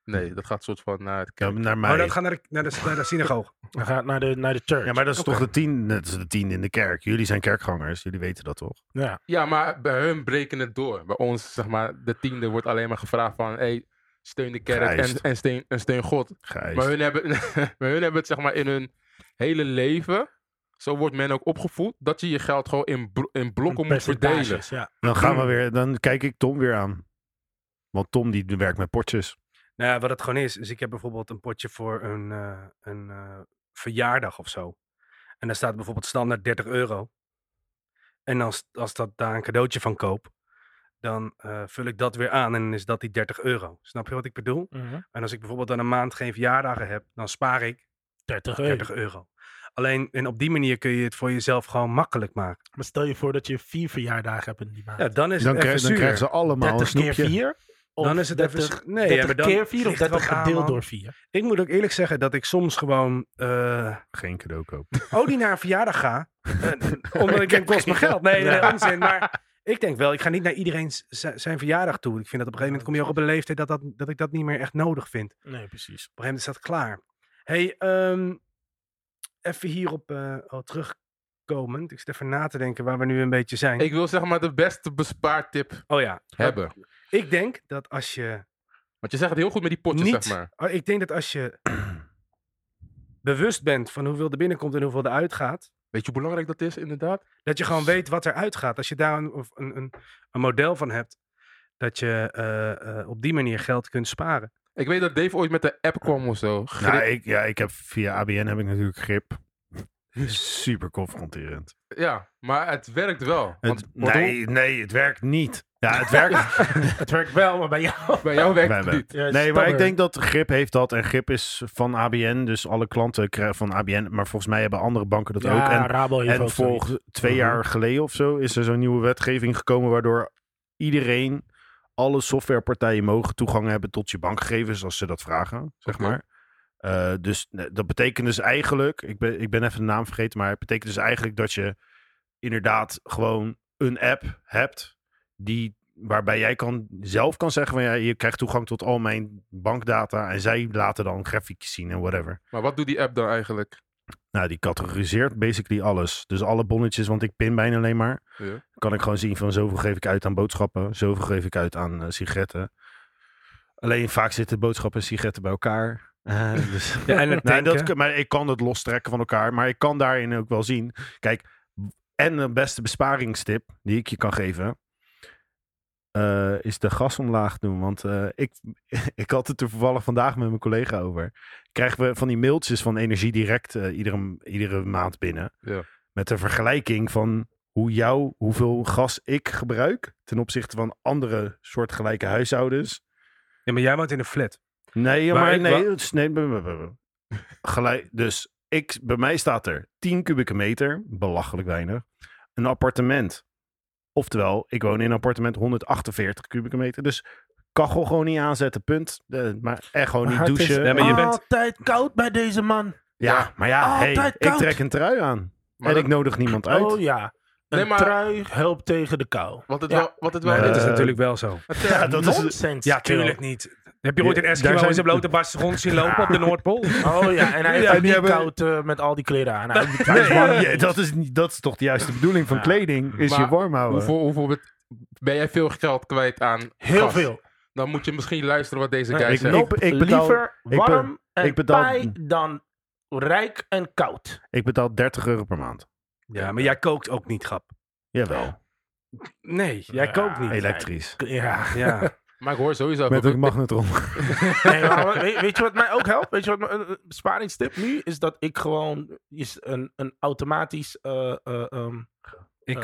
Speaker 1: nee, dat gaat soort van naar het
Speaker 4: Ja,
Speaker 1: kerk.
Speaker 4: naar mij.
Speaker 2: Maar dat gaat naar de, naar de, naar de synagoge.
Speaker 3: Dan gaat naar de, naar de church.
Speaker 4: Ja, maar dat is toch de tien, dat is de tien in de kerk. Jullie zijn kerkgangers, jullie weten dat toch?
Speaker 3: Ja.
Speaker 1: Ja, maar bij hun breken het door. Bij ons, zeg maar, de tiende wordt alleen maar gevraagd van. Hey, steun de kerk en,
Speaker 4: Geëist.
Speaker 1: en, steun, en steun God.
Speaker 4: Gijs.
Speaker 1: Maar hun, hebben, *laughs* maar hun hebben het, zeg maar, in hun hele leven. Zo wordt men ook opgevoed dat je je geld gewoon in, bro- in blokken moet
Speaker 3: Percentages,
Speaker 1: verdelen.
Speaker 3: Ja.
Speaker 4: Dan gaan we weer, dan kijk ik Tom weer aan. Want Tom die werkt met potjes.
Speaker 2: Nou, ja, wat het gewoon is, is ik heb bijvoorbeeld een potje voor een, eh, een eh, verjaardag of zo. En daar staat bijvoorbeeld standaard 30 euro. En als, als dat daar een cadeautje van koop, dan eh, vul ik dat weer aan en dan is dat die 30 euro. Snap je wat ik bedoel?
Speaker 3: Mhm.
Speaker 2: En als ik bijvoorbeeld dan een maand geen verjaardagen heb, dan spaar ik
Speaker 3: 30 euro.
Speaker 2: 30 euro. Alleen, en op die manier kun je het voor jezelf gewoon makkelijk maken.
Speaker 3: Maar stel je voor dat je vier verjaardagen hebt in die maand.
Speaker 2: Ja, dan is
Speaker 4: Dan,
Speaker 2: het
Speaker 4: krijg-
Speaker 2: even
Speaker 4: dan krijgen
Speaker 2: zuur.
Speaker 4: ze allemaal een
Speaker 3: 30 keer
Speaker 4: snoepje.
Speaker 3: 4?
Speaker 2: Dan is het even... zuur. Nee, ja,
Speaker 3: 30
Speaker 2: maar dan
Speaker 3: keer 4 of
Speaker 2: ligt er
Speaker 3: 30
Speaker 2: ook aan,
Speaker 3: gedeeld
Speaker 2: man.
Speaker 3: door 4?
Speaker 2: Ik moet ook eerlijk zeggen dat ik soms gewoon... eh,
Speaker 4: Geen cadeau kopen.
Speaker 2: oh, die naar een verjaardag ga. Eh, omdat ik denk, kost me geld. Nee, nee,
Speaker 3: Ja.
Speaker 2: onzin. Maar ik denk wel, ik ga niet naar iedereen z- zijn verjaardag toe. Ik vind dat op een gegeven moment kom je ook op een leeftijd dat, dat, dat ik dat niet meer echt nodig vind. Op
Speaker 3: Nee, precies. *laughs*
Speaker 2: een gegeven moment is dat klaar. hey, ehm, even hierop eh al terugkomend. Ik zit even na te denken waar we nu een beetje zijn.
Speaker 1: Ik wil zeg maar de beste bespaartip
Speaker 2: oh ja,
Speaker 1: hebben.
Speaker 2: ik denk dat als je
Speaker 1: Want je zegt het heel goed met die potjes,
Speaker 2: niet,
Speaker 1: zeg maar.
Speaker 2: Oh, ik denk dat als je *clears throat* bewust bent van hoeveel er binnenkomt en hoeveel er uitgaat,
Speaker 1: Weet je hoe belangrijk dat is, inderdaad?
Speaker 2: dat je gewoon weet wat er uitgaat. Als je daar een, of een, een, een model van hebt, dat je eh, eh, op die manier geld kunt sparen.
Speaker 1: Ik weet dat Dave ooit met de app kwam of zo. Grip.
Speaker 4: Nou, ik, ja, ik heb via ABN heb ik natuurlijk grip. Super confronterend.
Speaker 1: Ja, maar het werkt wel. Want
Speaker 4: Het, nee, nee, het werkt niet. Ja, het werkt.
Speaker 3: Het werkt wel, maar bij jou... *laughs*
Speaker 1: bij jou werkt
Speaker 4: Wij
Speaker 1: het
Speaker 4: wel.
Speaker 1: niet.
Speaker 3: Ja,
Speaker 4: nee, maar ik
Speaker 3: stubborn.
Speaker 4: denk dat Grip heeft dat. En Grip is van ABN. Dus alle klanten krijgen van ABN. Maar volgens mij hebben andere banken dat ook.
Speaker 3: Ja,
Speaker 4: En
Speaker 3: Rabo heeft
Speaker 4: En
Speaker 3: ook zoiets.
Speaker 4: volgens twee jaar geleden of zo is er zo'n nieuwe wetgeving gekomen waardoor iedereen, alle softwarepartijen mogen toegang hebben tot je bankgegevens als ze dat vragen, zeg
Speaker 1: Oké.
Speaker 4: maar. Eh, dus eh, dat betekent dus eigenlijk, ik ben, ik ben even de naam vergeten, maar het betekent dus eigenlijk dat je inderdaad gewoon een app hebt die, waarbij jij kan, zelf kan zeggen van ja, je krijgt toegang tot al mijn bankdata en zij laten dan grafiekjes zien en whatever.
Speaker 1: Maar wat doet die app dan eigenlijk?
Speaker 4: Nou, die categoriseert basically alles. Dus alle bonnetjes, want ik pin bijna alleen maar.
Speaker 1: Ja.
Speaker 4: Kan ik gewoon zien van zoveel geef ik uit aan boodschappen, zoveel geef ik uit aan eh, sigaretten. Alleen vaak zitten boodschappen en sigaretten bij elkaar. Eh, *laughs* dus...
Speaker 2: Ja, *laughs* en het
Speaker 4: Nee,
Speaker 2: tanken.
Speaker 4: dat, kan- maar ik kan het lostrekken van elkaar. Maar ik kan daarin ook wel zien. Kijk, en de beste besparingstip die ik je kan geven. eh, is de gas omlaag doen. Want eh, ik, *laughs* ik had het er toevallig vandaag met mijn collega over. Krijgen we van die mailtjes van Energie Direct eh, iedere, iedere maand binnen.
Speaker 1: Ja.
Speaker 4: Met een vergelijking van hoe jou, hoeveel gas ik gebruik. Ten opzichte van andere soortgelijke huishoudens.
Speaker 2: Ja, maar jij woont in een flat.
Speaker 4: Nee, ja,
Speaker 2: Waar
Speaker 4: maar
Speaker 2: ik
Speaker 4: nee,
Speaker 2: wa-
Speaker 4: het is- nee, bu- bu- bu- bu- Gelijk, dus ik, bij mij staat er 10 kubieke meter, belachelijk weinig, een appartement. Oftewel, ik woon in een appartement 148 kubieke meter, dus kachel gewoon niet aanzetten, punt. Eh, maar, en gewoon niet
Speaker 3: Maar het is
Speaker 4: douchen. Ah.
Speaker 2: Ja, maar je bent-
Speaker 3: altijd koud bij deze man.
Speaker 4: Ja, maar ja, hey,
Speaker 3: Altijd
Speaker 4: ik
Speaker 3: koud.
Speaker 4: trek een trui aan
Speaker 1: Maar
Speaker 4: en
Speaker 1: dat-
Speaker 4: ik nodig niemand uit.
Speaker 3: Oh ja. Een
Speaker 1: Nee, maar-
Speaker 3: trui helpt tegen de kou.
Speaker 1: Wat het
Speaker 3: Ja.
Speaker 1: wel... Wat het wel
Speaker 4: Nee,
Speaker 2: dat is
Speaker 4: Eh,
Speaker 2: natuurlijk wel zo.
Speaker 1: het,
Speaker 4: Ja,
Speaker 1: eh,
Speaker 4: dat is het.
Speaker 3: Nonsense.
Speaker 2: Ja, tuurlijk
Speaker 3: kill.
Speaker 2: niet. Heb je ooit in
Speaker 4: Ja,
Speaker 2: Eskimo
Speaker 4: daar zijn-
Speaker 2: in zijn blote barst rond zien lopen *laughs* op de Noordpool?
Speaker 3: Oh ja, en hij heeft
Speaker 4: *laughs* Ja,
Speaker 3: het
Speaker 4: die
Speaker 3: niet
Speaker 4: hebben-
Speaker 3: koud eh, met al die kleren
Speaker 4: *laughs*
Speaker 3: aan. Hij heeft-
Speaker 4: Nee, ja, dat, is, niet- dat is toch de juiste bedoeling van
Speaker 3: Ja.
Speaker 4: kleding, is
Speaker 1: Maar
Speaker 4: je warm houden.
Speaker 1: hoeveel, hoeveel bet- ben jij veel geld kwijt aan
Speaker 3: Heel
Speaker 1: gas?
Speaker 3: veel.
Speaker 1: Dan moet je misschien luisteren wat deze
Speaker 3: Nee,
Speaker 1: guy
Speaker 4: ik
Speaker 1: zegt.
Speaker 4: nope. ik betaal-
Speaker 3: liever
Speaker 4: ik be-
Speaker 3: warm en
Speaker 4: ik betaal-
Speaker 3: paai dan rijk en koud.
Speaker 4: Ik betaal 30 euro per maand.
Speaker 2: Ja, maar jij kookt ook niet, grap.
Speaker 4: Jawel,
Speaker 2: Nee, jij
Speaker 3: Ja,
Speaker 2: kookt niet.
Speaker 4: elektrisch.
Speaker 3: Ja.
Speaker 2: Ja.
Speaker 1: Maar ik hoor sowieso...
Speaker 4: Met
Speaker 1: ook-
Speaker 4: *laughs* een magnetron.
Speaker 3: Nee, maar weet, weet je wat mij ook helpt? Weet je wat mijn eh, besparingstip nu is? Dat ik gewoon is een, een automatisch... eh, eh, ehm,
Speaker 2: *laughs* In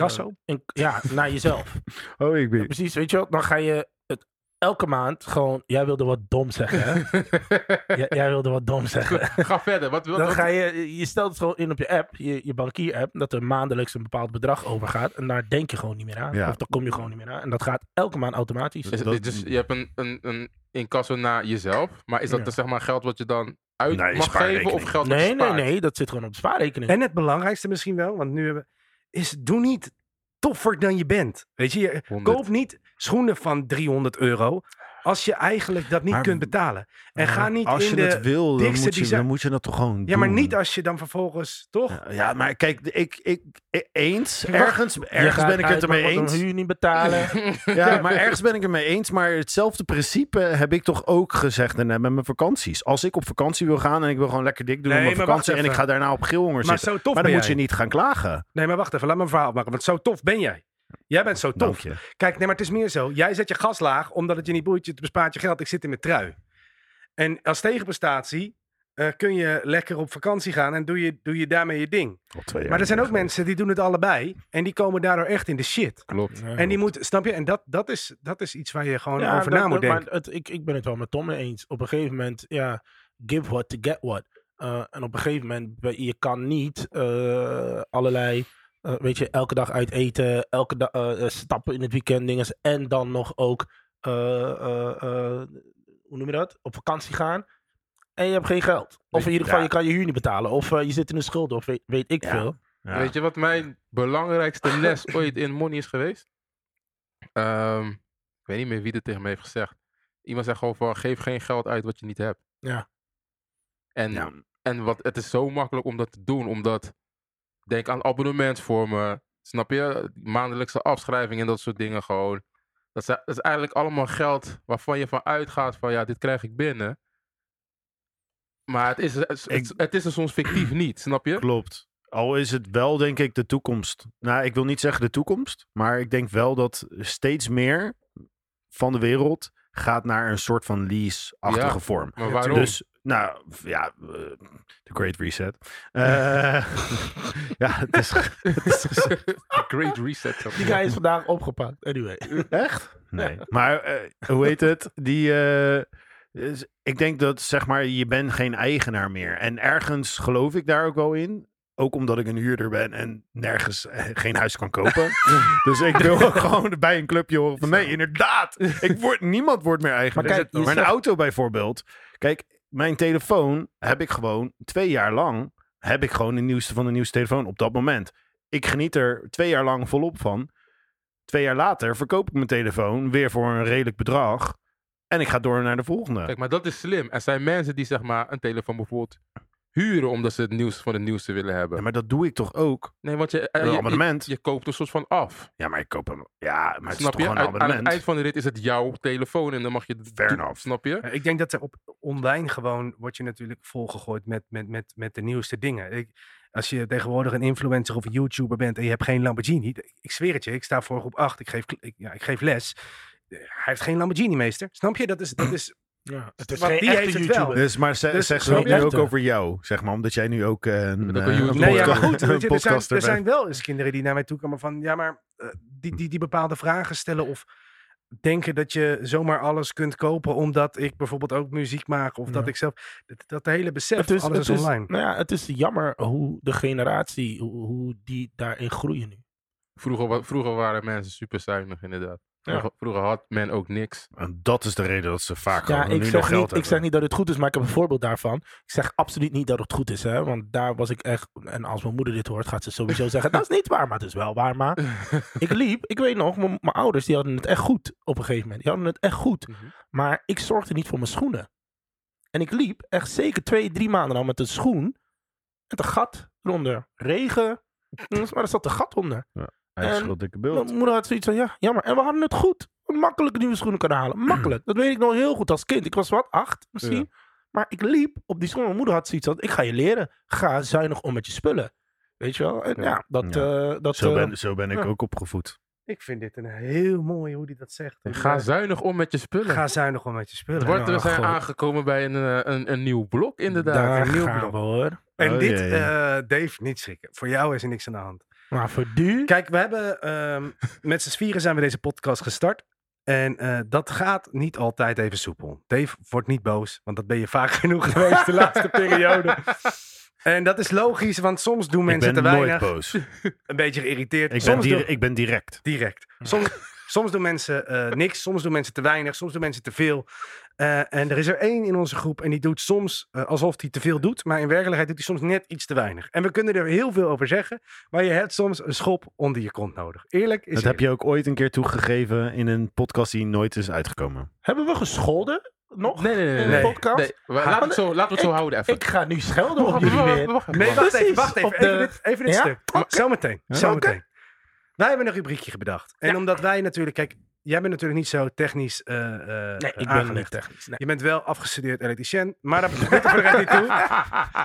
Speaker 3: een- ja, naar jezelf.
Speaker 4: *laughs* Oh, ik ben...
Speaker 3: Precies, weet je wel? Dan ga je het elke maand gewoon... Jij wilde wat dom zeggen, hè?
Speaker 4: *laughs*
Speaker 3: jij, jij wilde wat dom zeggen.
Speaker 1: *laughs* Ga verder. Wat, wat,
Speaker 3: Dan
Speaker 1: wat-
Speaker 3: ga je, je stelt het gewoon in op je app, je, je bankier-app, dat er maandelijks een bepaald bedrag overgaat. En daar denk je gewoon niet meer aan.
Speaker 4: Ja.
Speaker 3: Of daar kom je gewoon niet meer aan. En dat gaat elke maand automatisch.
Speaker 1: Is-
Speaker 4: Dat-
Speaker 1: dus je hebt een, een, een incasso naar jezelf, maar is dat
Speaker 3: Ja.
Speaker 1: dus zeg maar geld wat je dan uit
Speaker 4: Nee,
Speaker 1: mag geven
Speaker 4: spaarrekening.
Speaker 1: of geld wat je
Speaker 3: nee, nee,
Speaker 1: spaart?
Speaker 3: nee, dat zit gewoon op de
Speaker 2: *laughs*
Speaker 3: spaarrekening.
Speaker 2: En het belangrijkste misschien wel, want nu hebben is doe niet toffer dan je bent. Weet je, je
Speaker 1: 100.
Speaker 2: koop niet schoenen van 300 euro als je eigenlijk dat niet
Speaker 4: Maar-
Speaker 2: kunt betalen. En ga niet
Speaker 4: Als
Speaker 2: in
Speaker 4: je
Speaker 2: de...
Speaker 4: het wil, dan
Speaker 2: dikste
Speaker 4: moet, je,
Speaker 2: design-
Speaker 4: dan moet je dat toch gewoon doen.
Speaker 2: ja, maar niet als je dan vervolgens, toch?
Speaker 4: Ja, maar kijk, ik, ik, ik- eens,
Speaker 3: Wacht,
Speaker 4: ergens, ergens ben ik het ermee
Speaker 3: Je
Speaker 4: eens.
Speaker 3: huur niet
Speaker 4: *laughs*
Speaker 3: betalen.
Speaker 4: Ja,
Speaker 2: *laughs*
Speaker 4: maar ergens ben ik het ermee eens. Maar hetzelfde principe heb ik toch ook gezegd en, eh, met mijn vakanties. Als ik op vakantie wil gaan en ik wil gewoon lekker dik doen
Speaker 2: Nee,
Speaker 4: op mijn
Speaker 2: maar wacht
Speaker 4: vakantie en ik
Speaker 2: even.
Speaker 4: ga daarna op geelhonger
Speaker 2: maar zo
Speaker 4: zitten.
Speaker 2: tof
Speaker 4: Maar
Speaker 2: ben
Speaker 4: dan
Speaker 2: jij.
Speaker 4: moet je niet gaan klagen.
Speaker 2: Nee, maar wacht even, laat me een verhaal maken, want zo tof ben jij. Jij bent zo tof.
Speaker 4: Dank je.
Speaker 2: Kijk, nee, maar het is meer zo. Jij zet je gas laag omdat het je niet boeit. Je het bespaart je geld. Ik zit in mijn trui. En als tegenprestatie eh, kun je lekker op vakantie gaan en doe je, doe je daarmee je ding.
Speaker 4: Al twee jaar
Speaker 2: Maar er zijn ook
Speaker 4: geleden.
Speaker 2: mensen die doen het allebei en die komen daardoor echt in de shit.
Speaker 1: Klopt.
Speaker 2: En die moeten, snap je? En dat, dat, is, dat is iets waar je gewoon
Speaker 3: Ja,
Speaker 2: over
Speaker 3: dat-
Speaker 2: na moet
Speaker 3: dat-
Speaker 2: denken.
Speaker 3: Maar het, ik, ik ben het wel met Tom mee eens. Op een gegeven moment, ja, give what to get what. Eh, en op een gegeven moment, we- je kan niet eh, allerlei, eh, weet je, elke dag uit eten, elke dag stappen in het weekend, dingen. En dan nog ook, eh, eh, eh, hoe noem je dat? Op vakantie gaan. En je hebt geen geld. Of in ieder geval,
Speaker 4: Ja.
Speaker 3: je kan je huur niet betalen. Of eh, je zit in de schuld, of weet, weet ik
Speaker 4: Ja.
Speaker 3: veel.
Speaker 4: Ja.
Speaker 1: Weet je wat mijn
Speaker 4: *laughs*
Speaker 1: belangrijkste les ooit in Money is geweest? Ehm, ik weet niet meer wie dit tegen me heeft gezegd. Iemand zegt gewoon van, geef geen geld uit wat je niet hebt.
Speaker 3: Ja.
Speaker 1: En,
Speaker 4: Ja.
Speaker 1: en wat, het is zo makkelijk om dat te doen, omdat... Denk aan abonnementsvormen, snap je? Maandelijkse afschrijving en dat soort dingen gewoon. Dat zijn- dat is eigenlijk allemaal geld waarvan je van uitgaat van, ja, dit krijg ik binnen. Maar het is, het,
Speaker 4: Ik-
Speaker 1: het is er soms fictief niet, snap je?
Speaker 4: Klopt. Al is het wel, denk ik, de toekomst. Nou, ik wil niet zeggen de toekomst, maar ik denk wel dat steeds meer van de wereld gaat naar een soort van lease-achtige
Speaker 1: Ja.
Speaker 4: vorm.
Speaker 1: Maar
Speaker 2: Ja,
Speaker 1: waarom?
Speaker 4: Dus Nou, f- ja, eh, de Great Reset. Eh, *laughs* ja, het is, het is-
Speaker 1: dus Great reset.
Speaker 3: Die guy is vandaag opgepakt.
Speaker 2: *laughs*
Speaker 3: Anyway.
Speaker 4: *laughs* Echt? Nee. Maar eh, hoe heet het? Die, eh, is- ik denk dat, zeg maar, je bent geen eigenaar meer. En ergens geloof ik daar ook wel in. Ook omdat ik een huurder ben en nergens eh, geen huis kan
Speaker 3: *laughs*
Speaker 4: kopen. dus ik wil ook gewoon bij een clubje horen van... Nee, inderdaad. Ik word, niemand wordt meer eigenaar. Dus
Speaker 3: Maar
Speaker 4: Maar,
Speaker 3: kijk, je
Speaker 4: een
Speaker 3: zegt-
Speaker 4: auto bijvoorbeeld. Kijk, mijn telefoon heb ik gewoon twee jaar lang... heb ik gewoon de nieuwste van de nieuwste telefoon op dat moment. Ik geniet er twee jaar lang volop van. Twee jaar later verkoop ik mijn telefoon weer voor een redelijk bedrag. En ik ga door naar de volgende.
Speaker 1: Kijk, maar dat is slim. Er zijn mensen die zeg maar een telefoon bijvoorbeeld huren omdat ze het nieuws van het nieuwste willen
Speaker 4: Ja,
Speaker 1: hebben.
Speaker 4: maar dat doe ik toch ook?
Speaker 1: Nee, want je, eh,
Speaker 4: Een
Speaker 1: je, je,
Speaker 4: abonnement?
Speaker 1: je koopt een soort van af.
Speaker 4: Ja, maar ik koop hem. Ja, maar het is
Speaker 1: snap
Speaker 4: toch
Speaker 1: je?
Speaker 4: gewoon een
Speaker 1: Aan- aan het
Speaker 4: abonnement?
Speaker 1: eind van de rit is het jouw telefoon en dan mag je... het
Speaker 4: Fair
Speaker 1: doen,
Speaker 4: enough.
Speaker 1: Snap je?
Speaker 2: Ja, ik denk dat er op online gewoon word je natuurlijk volgegooid met, met, met, met de nieuwste dingen. Ik, als je tegenwoordig een influencer of een YouTuber bent en je hebt geen Lamborghini. d- Ik zweer het je, ik sta voor groep 8, ik geef, kl- ik, ja, ik geef les. Eh, Hij heeft geen Lamborghini, meester. Snap je? Dat is,
Speaker 3: *clears throat*
Speaker 2: dat is
Speaker 3: Ja, het is
Speaker 2: Want
Speaker 3: geen
Speaker 2: die
Speaker 3: echte
Speaker 2: heeft het
Speaker 3: YouTuber.
Speaker 2: wel.
Speaker 4: Dus, maar ze,
Speaker 2: Dus-
Speaker 4: zeg ze
Speaker 3: Nee,
Speaker 4: dat nu
Speaker 3: echt,
Speaker 4: ook
Speaker 3: hoor.
Speaker 4: over jou, zeg maar. Omdat jij nu ook eh, een,
Speaker 1: ook
Speaker 4: eh,
Speaker 1: een
Speaker 4: een
Speaker 1: YouTuber.
Speaker 2: Nee, ja, maar
Speaker 4: podca-
Speaker 2: goed. Weet je,
Speaker 4: *laughs* een
Speaker 2: er, zijn,
Speaker 4: podcaster
Speaker 2: er
Speaker 4: bent.
Speaker 2: zijn wel eens kinderen die naar mij toe komen van... Ja, maar eh, die, die, die bepaalde vragen stellen of denken dat je zomaar alles kunt kopen... omdat ik bijvoorbeeld ook muziek maak of dat
Speaker 3: Ja.
Speaker 2: ik zelf... Dat, dat hele besef,
Speaker 3: *laughs* Het is,
Speaker 2: alles
Speaker 3: het
Speaker 2: is
Speaker 3: is-
Speaker 2: online.
Speaker 3: nou ja, het is jammer hoe de generatie, hoe, hoe die daarin groeien nu.
Speaker 1: Vroeger, wa- vroeger waren mensen super zuinig, inderdaad. Vroeger, vroeger had men ook niks.
Speaker 4: En dat is de reden dat ze vaak
Speaker 3: Ja,
Speaker 4: gewoon
Speaker 3: ik
Speaker 4: nu
Speaker 3: zeg,
Speaker 4: nog geld
Speaker 3: niet, ik
Speaker 4: hebben.
Speaker 3: zeg niet dat het goed is, maar ik heb een voorbeeld daarvan. Ik zeg absoluut niet dat het goed is, hè, want daar was ik echt... En als mijn moeder dit hoort, gaat
Speaker 4: *laughs*
Speaker 3: ze sowieso zeggen, dat is niet waar, maar het is wel waar, maar... ik liep, ik weet nog, mijn mijn ouders die hadden het echt goed op een gegeven moment. Die hadden het echt goed.
Speaker 1: Mhm.
Speaker 3: Maar ik zorgde niet voor mijn schoenen. En ik liep echt zeker twee, drie maanden al met een schoen. Met een gat eronder. Regen. *laughs* Maar er zat een gat onder.
Speaker 4: Hij is
Speaker 3: en-
Speaker 4: een dikke
Speaker 3: Mijn
Speaker 4: bult.
Speaker 3: moeder had zoiets van, ja, jammer. En we hadden het goed. Makkelijk nieuwe schoenen kunnen halen. Makkelijk. Dat weet ik nog heel goed als kind. Ik was wat, acht misschien. Maar ik liep op die schoenen. Mijn moeder had zoiets van, ik ga je leren. Ga zuinig om met je spullen. Weet je wel? En ja,
Speaker 1: Ja.
Speaker 3: dat... eh, dat
Speaker 4: Zo
Speaker 3: eh,
Speaker 4: ben, zo ben ik
Speaker 3: ja.
Speaker 4: ook opgevoed.
Speaker 2: Ik vind dit een heel mooi hoe die dat zegt. En,
Speaker 1: Ga
Speaker 2: eh,
Speaker 1: zuinig om met je spullen.
Speaker 2: ga zuinig om met je spullen.
Speaker 1: Wordt
Speaker 2: Ja,
Speaker 1: we zijn
Speaker 2: goh.
Speaker 1: aangekomen bij een, eh, een, een nieuw blok, inderdaad.
Speaker 3: Daar
Speaker 2: een nieuw
Speaker 3: gaan
Speaker 2: blok.
Speaker 3: we hoor.
Speaker 2: En
Speaker 4: Oh,
Speaker 2: dit,
Speaker 4: jee.
Speaker 2: eh, Dave, niet schrikken. Voor jou is er niks aan de hand.
Speaker 3: Maar voor nu...
Speaker 2: Kijk, we hebben ehm, met z'n vieren zijn we deze podcast gestart. En eh, dat gaat niet altijd even soepel. Dave wordt niet boos, want dat ben je vaak *laughs* genoeg geweest de laatste
Speaker 4: *laughs*
Speaker 2: periode. En dat is logisch, want soms doen
Speaker 4: Ik
Speaker 2: mensen
Speaker 4: ben
Speaker 2: te
Speaker 4: nooit
Speaker 2: weinig,
Speaker 4: boos.
Speaker 2: een beetje geïrriteerd.
Speaker 4: Ik ben,
Speaker 2: soms
Speaker 4: dir-
Speaker 2: doen-
Speaker 4: ik ben direct.
Speaker 2: direct. Soms, soms doen mensen eh, niks, soms doen mensen te weinig, soms doen mensen te veel. Eh, en er is er één in onze groep en die doet soms eh, alsof hij te veel doet, maar in werkelijkheid doet hij soms net iets te weinig. En we kunnen er heel veel over zeggen, maar je hebt soms een schop onder je kont nodig. Eerlijk is
Speaker 4: Dat heb je ook ooit een keer toegegeven in een podcast die nooit is uitgekomen.
Speaker 3: Hebben we gescholden? Nog?
Speaker 1: Nee, nee, nee.
Speaker 3: In
Speaker 1: nee.
Speaker 3: de podcast?
Speaker 1: Nee, we- laten, we het zo, laten we het zo houden even.
Speaker 3: Ik ga nu schelden op
Speaker 1: Wacht,
Speaker 3: jullie
Speaker 1: wacht,
Speaker 3: weer.
Speaker 1: wacht even,
Speaker 2: Nee,
Speaker 1: man.
Speaker 2: wacht even,
Speaker 3: Precies,
Speaker 2: wacht even.
Speaker 3: op
Speaker 2: Even
Speaker 3: de-
Speaker 2: dit, even dit
Speaker 3: Ja?
Speaker 2: stuk. Zometeen, zometeen. Wij hebben een rubriekje bedacht. En
Speaker 3: Ja.
Speaker 2: omdat wij natuurlijk, kijk, jij bent natuurlijk niet zo technisch eh eh,
Speaker 3: Nee, ik ben
Speaker 2: aangelegd.
Speaker 3: niet technisch. Nee.
Speaker 2: Je bent wel afgestudeerd elektricien, maar dat doet er voor de rest niet toe.
Speaker 3: *laughs*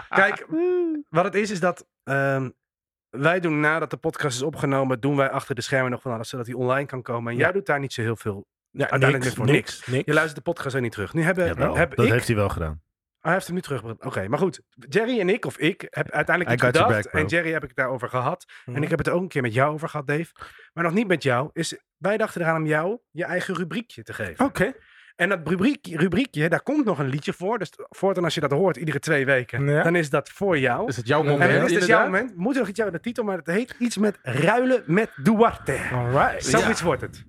Speaker 2: Kijk, wat het is, is dat ehm, wij doen nadat de podcast is opgenomen, doen wij achter de schermen nog van alles, zodat hij online kan komen. En jij doet daar niet zo heel veel.
Speaker 3: Ja,
Speaker 2: uiteindelijk
Speaker 3: niks,
Speaker 2: net voor
Speaker 3: niks, niks.
Speaker 2: Je luistert de podcast ook niet terug. Nu hebben,
Speaker 4: Jawel,
Speaker 2: Eh, heb
Speaker 4: dat
Speaker 2: ik,
Speaker 4: heeft hij wel gedaan.
Speaker 2: Oh, hij heeft hem nu terug. Oké, maar goed. Jerry en ik, of ik, heb uiteindelijk
Speaker 4: I
Speaker 2: iets
Speaker 4: got your
Speaker 2: bedacht.
Speaker 4: back, bro.
Speaker 2: en Jerry heb ik daarover gehad.
Speaker 3: Mhm.
Speaker 2: En ik heb het ook een keer met jou over gehad, Dave. Maar nog niet met jou. Is, wij dachten eraan om jou je eigen rubriekje te geven.
Speaker 3: Oké.
Speaker 2: En dat rubriek, rubriekje, daar komt nog een liedje voor. Dus voortaan als je dat hoort, iedere twee weken,
Speaker 3: Ja.
Speaker 2: dan is dat voor jou.
Speaker 1: Is het jouw
Speaker 3: En
Speaker 1: moment?
Speaker 2: en dan is dit jouw
Speaker 1: inderdaad?
Speaker 2: moment. Moet nog iets jouw de titel, maar het heet iets met ruilen met Duarte.
Speaker 3: Alright.
Speaker 2: Zoiets wordt het.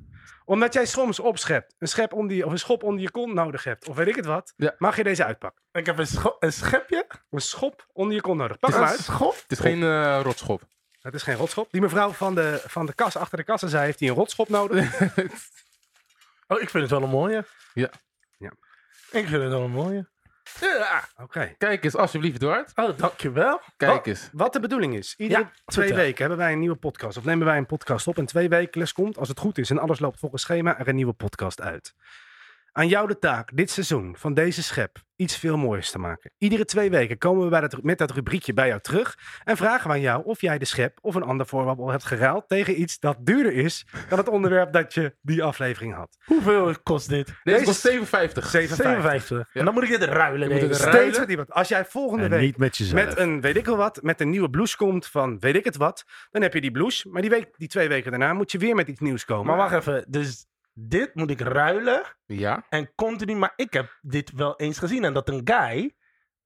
Speaker 2: Omdat jij soms opschept, een, schep onder je, of een schop onder je kont nodig hebt, of weet ik het wat,
Speaker 1: Ja.
Speaker 2: mag je deze uitpakken.
Speaker 3: Ik heb een, scho- een schepje.
Speaker 2: Een schop onder je kont nodig. Pak hem
Speaker 3: Een
Speaker 2: uit.
Speaker 3: schop. Oh.
Speaker 1: Het is geen eh, rotschop.
Speaker 2: Het is geen rotschop. Die mevrouw van de, van de kas achter de kassa zei, heeft hij een rotschop nodig?
Speaker 1: *laughs*
Speaker 3: Oh, ik vind het wel een mooie.
Speaker 1: Ja.
Speaker 2: Ja.
Speaker 3: Ik vind het wel een mooie. Ja.
Speaker 2: Oké.
Speaker 1: Kijk eens, alsjeblieft, Duart.
Speaker 3: Oh, dankjewel.
Speaker 1: Kijk eens.
Speaker 2: Wat de bedoeling is. Iedere
Speaker 3: Ja,
Speaker 2: twee
Speaker 3: vertel.
Speaker 2: weken hebben wij een nieuwe podcast. Of nemen wij een podcast op. En twee weken les komt, als het goed is en alles loopt volgens schema, er een nieuwe podcast uit. Aan jou de taak dit seizoen van deze schep iets veel moois te maken. Iedere twee weken komen we bij dat, met dat rubriekje bij jou terug en vragen we aan jou of jij de schep of een ander voorwerp al hebt geruild tegen iets dat duurder is dan het onderwerp dat je die aflevering had.
Speaker 3: Hoeveel kost dit?
Speaker 1: Deze
Speaker 2: Deze
Speaker 1: kost
Speaker 2: is-
Speaker 1: 57.
Speaker 2: 57.
Speaker 3: 57. En dan moet ik dit ruilen.
Speaker 1: Je moet
Speaker 3: nee.
Speaker 1: het ruilen.
Speaker 2: Steeds met iemand. Als jij volgende
Speaker 4: En
Speaker 2: week
Speaker 4: niet met jezelf.
Speaker 2: met eh, een weet ik wel wat, met een nieuwe blouse komt van weet ik het wat, dan heb je die blouse. Maar die, week, die twee weken daarna moet je weer met iets nieuws komen.
Speaker 3: Maar wacht even. Dus dit moet ik ruilen.
Speaker 1: Ja.
Speaker 3: En continu. Maar ik heb dit wel eens gezien. En dat een guy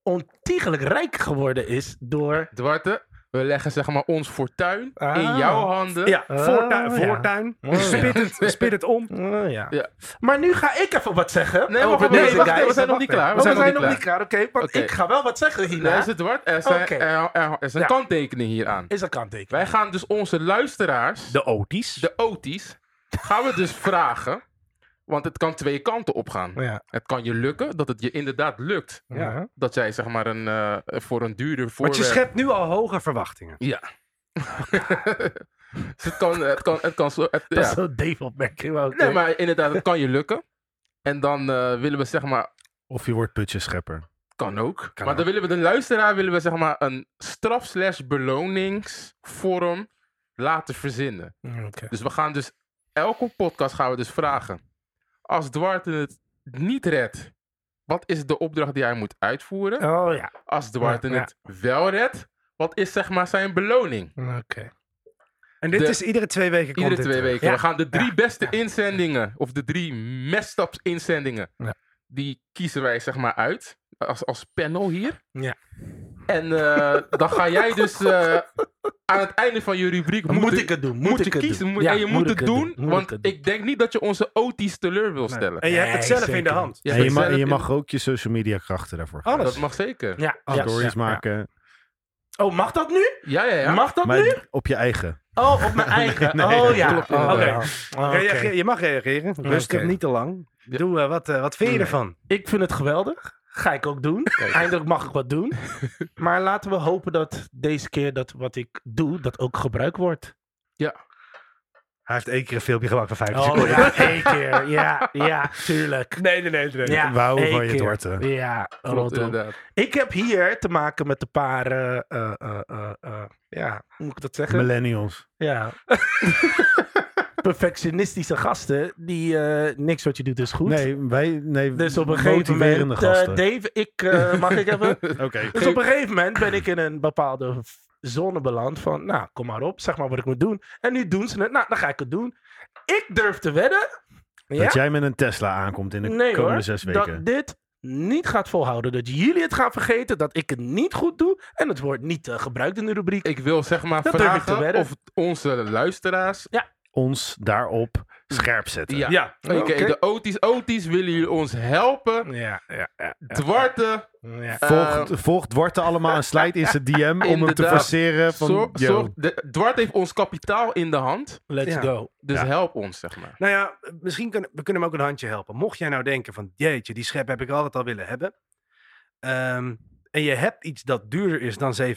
Speaker 3: ontiegelijk rijk geworden is door.
Speaker 1: Dwarte, we leggen zeg maar ons fortuin
Speaker 3: Ah.
Speaker 1: in jouw handen.
Speaker 2: Ja,
Speaker 3: Ah,
Speaker 2: voortuin.
Speaker 3: ja.
Speaker 2: voortuin.
Speaker 3: Oh, ja.
Speaker 2: Spit, het, spit het om.
Speaker 3: Oh, ja.
Speaker 1: Ja.
Speaker 3: Maar nu ga ik even wat zeggen. Oh,
Speaker 1: Nee, wacht,
Speaker 3: over
Speaker 1: wacht,
Speaker 3: deze
Speaker 1: wacht,
Speaker 3: guy.
Speaker 1: we zijn nog niet klaar, we
Speaker 3: We zijn,
Speaker 1: zijn nog niet
Speaker 3: nog niet klaar, oké. want
Speaker 1: Oké.
Speaker 3: ik ga wel wat zeggen hierna.
Speaker 1: Luister, Dwart, er, zijn,
Speaker 3: Oké.
Speaker 1: er, er is een
Speaker 3: Ja.
Speaker 1: kanttekening hieraan.
Speaker 3: Is dat kanttekening?
Speaker 1: Wij gaan dus onze luisteraars, de,
Speaker 2: De Otis.
Speaker 1: OT's, gaan we dus vragen. Want het kan twee kanten opgaan.
Speaker 3: Ja.
Speaker 1: Het kan je lukken, dat het je inderdaad lukt.
Speaker 3: Ja.
Speaker 1: Dat jij zeg maar een, eh, voor een duurder
Speaker 2: Want
Speaker 1: voorwerp...
Speaker 2: je schept nu al hoge verwachtingen.
Speaker 1: Ja. *laughs* Dus het kan, het kan, het kan zo... het-
Speaker 3: Dat
Speaker 1: ja.
Speaker 3: is zo'n Dave-opmerking. maar oké.
Speaker 1: Nee, maar inderdaad, het kan je lukken. En dan eh, willen we zeg maar,
Speaker 4: Of je wordt putjeschepper.
Speaker 1: kan ook.
Speaker 2: Kan
Speaker 1: maar dan willen we de luisteraar willen we zeg maar een straf slash beloningsvorm laten verzinnen.
Speaker 3: Oké.
Speaker 1: Dus we gaan dus elke podcast gaan we dus vragen. Als Dwarte het niet redt, wat is de opdracht die hij moet uitvoeren?
Speaker 3: Oh ja,
Speaker 1: Als Dwarte
Speaker 3: ja, ja.
Speaker 1: het wel redt, wat is zeg maar zijn beloning?
Speaker 3: oké.
Speaker 2: En dit
Speaker 1: De-
Speaker 2: is iedere twee weken komt
Speaker 1: Iedere
Speaker 2: dit
Speaker 1: twee
Speaker 2: terug.
Speaker 1: weken.
Speaker 3: Ja.
Speaker 1: We gaan de drie
Speaker 3: Ja.
Speaker 1: beste
Speaker 3: Ja.
Speaker 1: inzendingen, of de drie messed inzendingen,
Speaker 3: Ja.
Speaker 1: die kiezen wij zeg maar uit. Als, als panel hier.
Speaker 3: Ja.
Speaker 1: En
Speaker 3: *laughs*
Speaker 1: eh, dan ga jij dus eh, aan het einde van je rubriek
Speaker 3: Moet,
Speaker 1: moeten-
Speaker 3: ik het doen? Moet,
Speaker 1: moeten
Speaker 3: ik het
Speaker 1: kiezen.
Speaker 3: doen?
Speaker 1: Moet-
Speaker 3: Ja,
Speaker 1: en je moet,
Speaker 3: ik
Speaker 1: het doen,
Speaker 3: Moet
Speaker 1: want
Speaker 3: ik
Speaker 1: ik,
Speaker 3: het doen?
Speaker 1: denk niet dat je onze OT's teleur wil stellen.
Speaker 2: En je hebt het
Speaker 3: Nee,
Speaker 2: zelf in de
Speaker 3: zeker
Speaker 2: hand.
Speaker 1: Je
Speaker 4: en
Speaker 1: hebt
Speaker 4: je,
Speaker 3: eh,
Speaker 4: ma-
Speaker 1: zelf
Speaker 4: je
Speaker 1: in-
Speaker 4: mag ook je social media krachten daarvoor
Speaker 2: Alles.
Speaker 1: Dat mag zeker.
Speaker 3: Ja, ja,
Speaker 4: Stories
Speaker 3: ja,
Speaker 4: maken.
Speaker 3: ja. Oh, mag dat nu?
Speaker 1: Ja, ja, ja.
Speaker 3: Mag dat nu?
Speaker 4: Maar op je eigen.
Speaker 3: Oh, op mijn eigen.
Speaker 4: nee,
Speaker 3: oh
Speaker 4: dat
Speaker 3: ja.
Speaker 1: klopt
Speaker 3: Oh, ja.
Speaker 2: inderdaad.
Speaker 3: Oh, oké.
Speaker 2: Reageer- Je mag reageren. Rustig,
Speaker 3: Oké.
Speaker 2: niet te lang.
Speaker 1: Ja.
Speaker 2: Doe, eh, wat, eh, wat vind je
Speaker 1: Nee.
Speaker 2: ervan?
Speaker 3: Ik vind het geweldig. Ga ik ook doen. Eindelijk mag ik wat doen. Maar laten we hopen dat deze keer dat wat ik doe, dat ook gebruikt wordt.
Speaker 2: Hij heeft één keer een filmpje gemaakt van 15
Speaker 3: Oh
Speaker 2: seconden.
Speaker 3: ja, één keer. Ja, ja, tuurlijk.
Speaker 2: Nee, nee, nee. nee.
Speaker 3: Ja,
Speaker 4: we houden
Speaker 3: één
Speaker 4: van je,
Speaker 3: keer.
Speaker 4: Dwarte.
Speaker 3: Ja,
Speaker 1: Klopt,
Speaker 3: rot op.
Speaker 1: inderdaad. *laughs*
Speaker 3: Ik heb hier te maken met een paar, eh, eh, eh, eh, eh, ja, hoe moet ik dat zeggen?
Speaker 4: Millennials. *laughs*
Speaker 3: ja. Perfectionistische gasten die eh, niks wat je doet is goed.
Speaker 4: Nee, wij... Nee,
Speaker 3: Dus op een gegeven moment,
Speaker 4: motiverende
Speaker 3: eh,
Speaker 4: gasten.
Speaker 3: Dave, ik, eh, mag ik
Speaker 4: *laughs*
Speaker 3: even?
Speaker 4: Oké.
Speaker 3: Dus op een gegeven moment ben ik in een bepaalde v- zone beland van, nou, kom maar op, zeg maar wat ik moet doen. En nu doen ze het, nou, dan ga ik het doen. Ik durf te wedden, ja,
Speaker 4: Dat jij met een Tesla aankomt in de
Speaker 3: nee
Speaker 4: komende
Speaker 3: hoor,
Speaker 4: zes weken.
Speaker 3: dat dit niet gaat volhouden. Dat jullie het gaan vergeten, dat ik het niet goed doe en het wordt niet eh, gebruikt in de rubriek.
Speaker 1: Ik wil zeg maar
Speaker 3: Dat durf ik te
Speaker 1: vragen
Speaker 3: wedden.
Speaker 1: of onze luisteraars...
Speaker 4: Ons daarop scherp zetten.
Speaker 1: Ja,
Speaker 2: Ja.
Speaker 1: oké,
Speaker 3: Oké.
Speaker 1: de OT's, OT's willen jullie ons helpen. eh,
Speaker 3: Ja, ja, ja.
Speaker 1: Dwarte,
Speaker 3: ja.
Speaker 4: Volgt,
Speaker 3: Ehm.
Speaker 4: volgt Dwarte allemaal en slijt in zijn DM om hem te
Speaker 1: Inderdaad.
Speaker 4: forceren van...
Speaker 1: Zorg,
Speaker 4: yo.
Speaker 1: zorg, de- Dwart heeft ons kapitaal in de hand,
Speaker 3: Let's
Speaker 2: Ja.
Speaker 3: go.
Speaker 1: dus
Speaker 4: Ja.
Speaker 1: help ons, zeg maar.
Speaker 2: Nou ja, misschien kunnen we kunnen hem ook een handje helpen. Mocht jij nou denken van, jeetje, die schep heb ik altijd al willen hebben. Ehm, en je hebt iets dat duurder is dan 7,50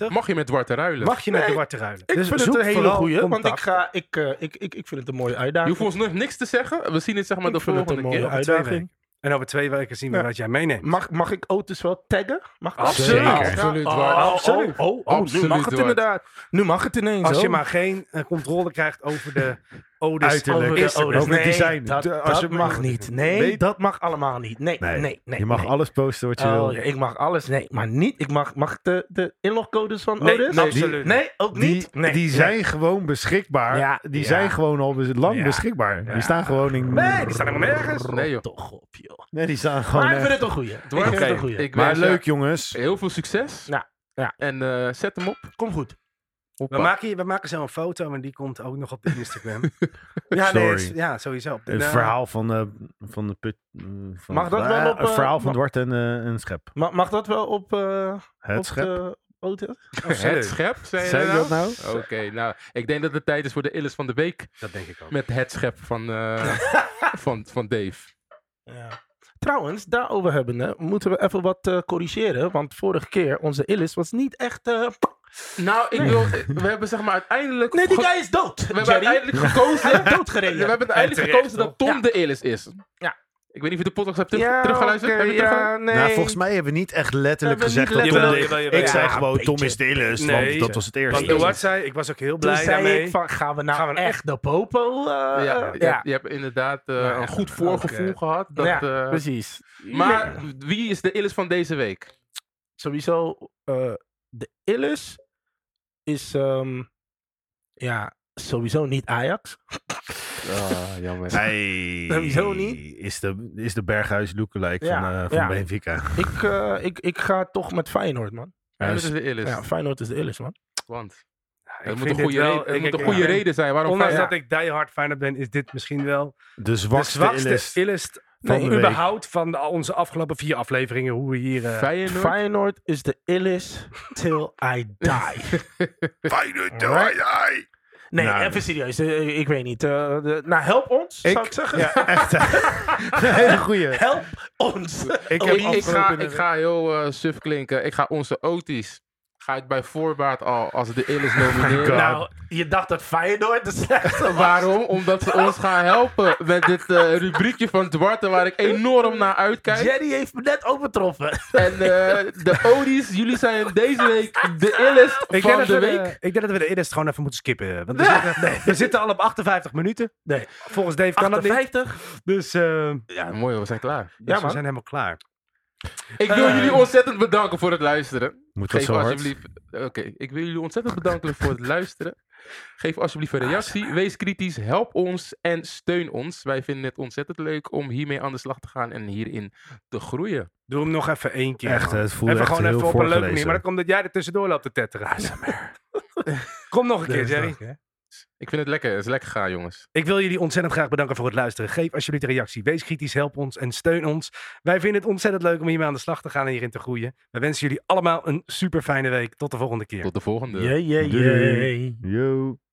Speaker 2: euro.
Speaker 1: Mag je met Dwarte ruilen?
Speaker 2: Mag je met
Speaker 3: Nee,
Speaker 2: de Warte ruilen.
Speaker 3: Ik
Speaker 2: Dus
Speaker 3: vind het
Speaker 2: zoek
Speaker 3: een hele
Speaker 2: vooral
Speaker 3: goeie, want ik,
Speaker 2: contact.
Speaker 3: ga, ik, eh, ik, ik, ik vind het een mooie
Speaker 1: je
Speaker 3: uitdaging.
Speaker 1: hoeft ons nog niks te zeggen. We zien het zeg maar
Speaker 3: Ik
Speaker 1: de
Speaker 3: vind het een
Speaker 1: volgende
Speaker 3: mooie
Speaker 1: keer.
Speaker 2: Over twee
Speaker 3: uitdaging.
Speaker 2: En over twee weken zien we
Speaker 3: Ja.
Speaker 2: wat jij meeneemt.
Speaker 3: Mag, mag ik Otis wel taggen? Mag dat?
Speaker 2: Absoluut.
Speaker 3: Ja.
Speaker 2: Zeker.
Speaker 1: Absoluut,
Speaker 3: Oh,
Speaker 1: Dwart.
Speaker 3: oh,
Speaker 2: Absoluut.
Speaker 3: Oh, oh, oh,
Speaker 1: Absoluut,
Speaker 3: nu mag het
Speaker 1: Dwart.
Speaker 3: inderdaad. Nu mag het ineens.
Speaker 2: Als je
Speaker 3: oh.
Speaker 2: maar geen eh, controle krijgt over de odes. over
Speaker 4: Uiterlijk.
Speaker 3: Over
Speaker 2: de
Speaker 3: de
Speaker 4: Is er
Speaker 2: odes.
Speaker 3: ouders.
Speaker 4: ook het
Speaker 3: Nee,
Speaker 4: design?
Speaker 3: dat,
Speaker 4: De- als
Speaker 3: dat
Speaker 4: je-
Speaker 3: mag niet. Nee,
Speaker 4: Nee.
Speaker 3: dat mag allemaal niet. Nee, nee,
Speaker 4: Nee,
Speaker 3: nee.
Speaker 4: je mag
Speaker 3: nee.
Speaker 4: alles posten wat je
Speaker 3: Oh,
Speaker 4: wil.
Speaker 3: ja, ik mag alles, nee, maar niet. Ik mag, mag ik de, de inlogcodes van
Speaker 2: Nee,
Speaker 3: Otis?
Speaker 2: nee,
Speaker 4: absoluut.
Speaker 3: Nee, ook
Speaker 4: Die,
Speaker 3: niet. Nee,
Speaker 4: die
Speaker 3: nee.
Speaker 4: zijn gewoon beschikbaar.
Speaker 3: Ja,
Speaker 4: die
Speaker 3: ja.
Speaker 4: zijn gewoon al bes- lang
Speaker 2: Ja.
Speaker 4: beschikbaar.
Speaker 2: Ja.
Speaker 4: Die staan gewoon in...
Speaker 2: Nee, die staan helemaal nergens.
Speaker 1: Nee, joh.
Speaker 3: Toch op, joh.
Speaker 4: Nee, die staan gewoon...
Speaker 3: Maar ik
Speaker 4: echt-
Speaker 3: vind het een goeie. Ik vind
Speaker 1: Dwart,
Speaker 3: het
Speaker 1: oké.
Speaker 3: een goeie.
Speaker 1: Ik
Speaker 4: Maar
Speaker 1: wens
Speaker 4: leuk,
Speaker 1: leuk.
Speaker 4: jongens.
Speaker 1: heel veel succes.
Speaker 3: Ja, ja.
Speaker 1: En eh, zet hem op.
Speaker 3: Kom goed.
Speaker 2: We maken, hier- we maken zo een foto en die komt ook nog op de Instagram. ja,
Speaker 4: Sorry.
Speaker 2: nee, het is- ja, sowieso. Op de-
Speaker 4: Het
Speaker 2: nou,
Speaker 4: verhaal van de... Van de put, van-
Speaker 3: Mag dat wel
Speaker 4: Ah,
Speaker 3: op,
Speaker 4: Het
Speaker 3: eh,
Speaker 4: verhaal van
Speaker 3: mag-
Speaker 4: Dwart en, eh, en Schep.
Speaker 3: Ma- mag dat wel op, eh op
Speaker 4: Het Schep.
Speaker 3: de Otis?
Speaker 1: eh, Het schep, zei je
Speaker 4: Zei je
Speaker 1: nou?
Speaker 4: dat nou?
Speaker 1: Oké, nou, ik denk dat het tijd is voor de Illis van de Week.
Speaker 2: Dat denk ik ook.
Speaker 1: Met het schep van, eh, van, van Dave.
Speaker 3: Ja. Trouwens, daarover hebbende moeten we even wat eh, corrigeren. Want vorige keer, onze Illis was niet echt... eh,
Speaker 1: Nou, ik wil, we hebben zeg maar uiteindelijk...
Speaker 3: Nee, die
Speaker 1: ge-
Speaker 3: guy is dood,
Speaker 1: we hebben
Speaker 3: Jerry.
Speaker 1: uiteindelijk gekozen...
Speaker 3: Hij
Speaker 1: *laughs*
Speaker 3: is
Speaker 1: we
Speaker 3: doodgereden.
Speaker 1: hebben
Speaker 3: En
Speaker 1: uiteindelijk
Speaker 3: terecht,
Speaker 1: gekozen dat
Speaker 3: hoor.
Speaker 1: Tom
Speaker 3: Ja.
Speaker 1: de Illis is.
Speaker 3: Ja.
Speaker 1: Ik weet niet of je de podcast hebt terug, teruggeluisterd.
Speaker 3: oké,
Speaker 1: Heb je teruggeluisterd?
Speaker 3: ja, nee.
Speaker 4: Nou, volgens mij hebben we niet echt letterlijk
Speaker 3: Hebben we
Speaker 4: gezegd
Speaker 3: niet
Speaker 4: dat Tom...
Speaker 3: letterlijk-
Speaker 4: de-
Speaker 5: Jawel, jawel,
Speaker 4: Ik zei
Speaker 3: Ja,
Speaker 4: gewoon,
Speaker 3: een
Speaker 4: Tom
Speaker 3: beetje.
Speaker 4: is de illus,
Speaker 5: Nee.
Speaker 4: want dat was het
Speaker 5: Want de
Speaker 4: eerste.
Speaker 5: wat zei, ik was ook heel
Speaker 3: Toen
Speaker 5: blij
Speaker 3: zei
Speaker 5: daarmee.
Speaker 3: ik van, gaan we nou
Speaker 2: Gaan we nou
Speaker 3: echt, de popo? eh,
Speaker 1: Ja,
Speaker 3: eh,
Speaker 1: je, hebt- je hebt inderdaad eh,
Speaker 3: Nou
Speaker 1: een goed voorgevoel
Speaker 2: oké.
Speaker 1: gehad. Dat,
Speaker 3: Ja,
Speaker 1: eh,
Speaker 3: precies.
Speaker 1: maar wie is de illus van deze week?
Speaker 3: sowieso eh, de illus is ehm, ja sowieso niet Ajax.
Speaker 1: jammer.
Speaker 4: Hij
Speaker 3: Sowieso niet.
Speaker 4: Is de, is de Berghuis lookalike
Speaker 3: Ja,
Speaker 4: van, eh, van
Speaker 3: ja.
Speaker 4: Benfica.
Speaker 1: *laughs*
Speaker 3: ik, eh, ik, ik ga toch met Feyenoord man.
Speaker 1: En
Speaker 4: Ja,
Speaker 1: dat is de illus.
Speaker 3: Ja, Feyenoord is de illus man.
Speaker 1: Want
Speaker 2: Ja,
Speaker 1: het
Speaker 2: ik
Speaker 1: moet een
Speaker 2: vind
Speaker 1: goede,
Speaker 2: dit wel-
Speaker 1: reden, er
Speaker 2: ik-
Speaker 1: moet
Speaker 2: ik-
Speaker 1: een goede
Speaker 2: ik-
Speaker 1: reden zijn waarom
Speaker 2: Ondanks
Speaker 1: Feyenoord-
Speaker 2: dat ik die hard Feyenoord ben, is dit misschien wel
Speaker 4: De
Speaker 2: de
Speaker 4: zwakste,
Speaker 2: zwakste illest,
Speaker 4: illus.
Speaker 2: van
Speaker 4: de week.
Speaker 2: überhaupt van al onze afgelopen vier afleveringen. Hoe we hier... eh,
Speaker 1: Feyenoord.
Speaker 3: Feyenoord is de illus till I die.
Speaker 4: Feyenoord, ai,
Speaker 3: Alright.
Speaker 4: ai.
Speaker 3: Nee,
Speaker 4: Nou,
Speaker 3: even serieus. eh, ik weet niet. eh, de- nou, help ons, zou ik zeggen.
Speaker 4: Ja, *laughs* echt. Een hele goeie.
Speaker 3: Help ons. Oh,
Speaker 4: Ik
Speaker 1: *laughs* Ik,
Speaker 4: heb
Speaker 1: ik, ga,
Speaker 4: afgelopen...
Speaker 1: ik ga heel eh, suf klinken. Ik ga onze Otis. Ga ik bij voorbaat al als de illus nomineren.
Speaker 3: nou, je dacht dat Feyenoord de
Speaker 1: *laughs*
Speaker 3: slechtste was.
Speaker 1: Waarom? Omdat ze ons gaan helpen met dit eh, rubriekje van Dwarte, waar ik enorm naar uitkijk.
Speaker 3: Jerry heeft me net overtroffen.
Speaker 1: En eh, de Odis, jullie zijn deze week de illest
Speaker 2: Ik denk,
Speaker 1: van
Speaker 2: dat
Speaker 1: de
Speaker 2: we
Speaker 1: week.
Speaker 2: de, ik denk dat we de eerste gewoon even moeten skippen. eh, Want we, zitten, we zitten al op 58 minuten.
Speaker 3: Nee.
Speaker 2: Volgens Dave kan dat niet.
Speaker 3: 58?
Speaker 2: Dus, eh,
Speaker 1: Ja, mooi, we zijn klaar.
Speaker 2: dus we
Speaker 3: man.
Speaker 2: zijn helemaal klaar.
Speaker 1: Ik wil jullie ontzettend bedanken voor het luisteren.
Speaker 4: Moet dat
Speaker 1: Geef
Speaker 4: zo hard?
Speaker 1: alsjeblieft. Oké, ik wil jullie ontzettend bedanken voor het luisteren. Geef alsjeblieft een reactie. Wees kritisch, help ons en steun ons. Wij vinden het ontzettend leuk om hiermee aan de slag te gaan en hierin te groeien.
Speaker 2: Doe hem nog even één keer.
Speaker 4: Echt,
Speaker 2: man.
Speaker 4: het voelde
Speaker 2: even
Speaker 4: echt
Speaker 2: gewoon
Speaker 4: heel
Speaker 2: even op een leuke manier.
Speaker 4: voorgelezen.
Speaker 2: Maar dat komt dat jij er tussendoor loopt te tetteren. *laughs* Kom nog een keer, Jerry.
Speaker 1: Ik vind het lekker, het is lekker gaan, jongens.
Speaker 2: Ik wil jullie ontzettend graag bedanken voor het luisteren. Geef alsjeblieft een reactie. Wees kritisch, help ons en steun ons. Wij vinden het ontzettend leuk om hiermee aan de slag te gaan en hierin te groeien. We wensen jullie allemaal een super fijne week. Tot de volgende keer.
Speaker 1: Tot de volgende.
Speaker 3: Jee, jee,
Speaker 4: Doei.
Speaker 3: jee.
Speaker 4: Yo.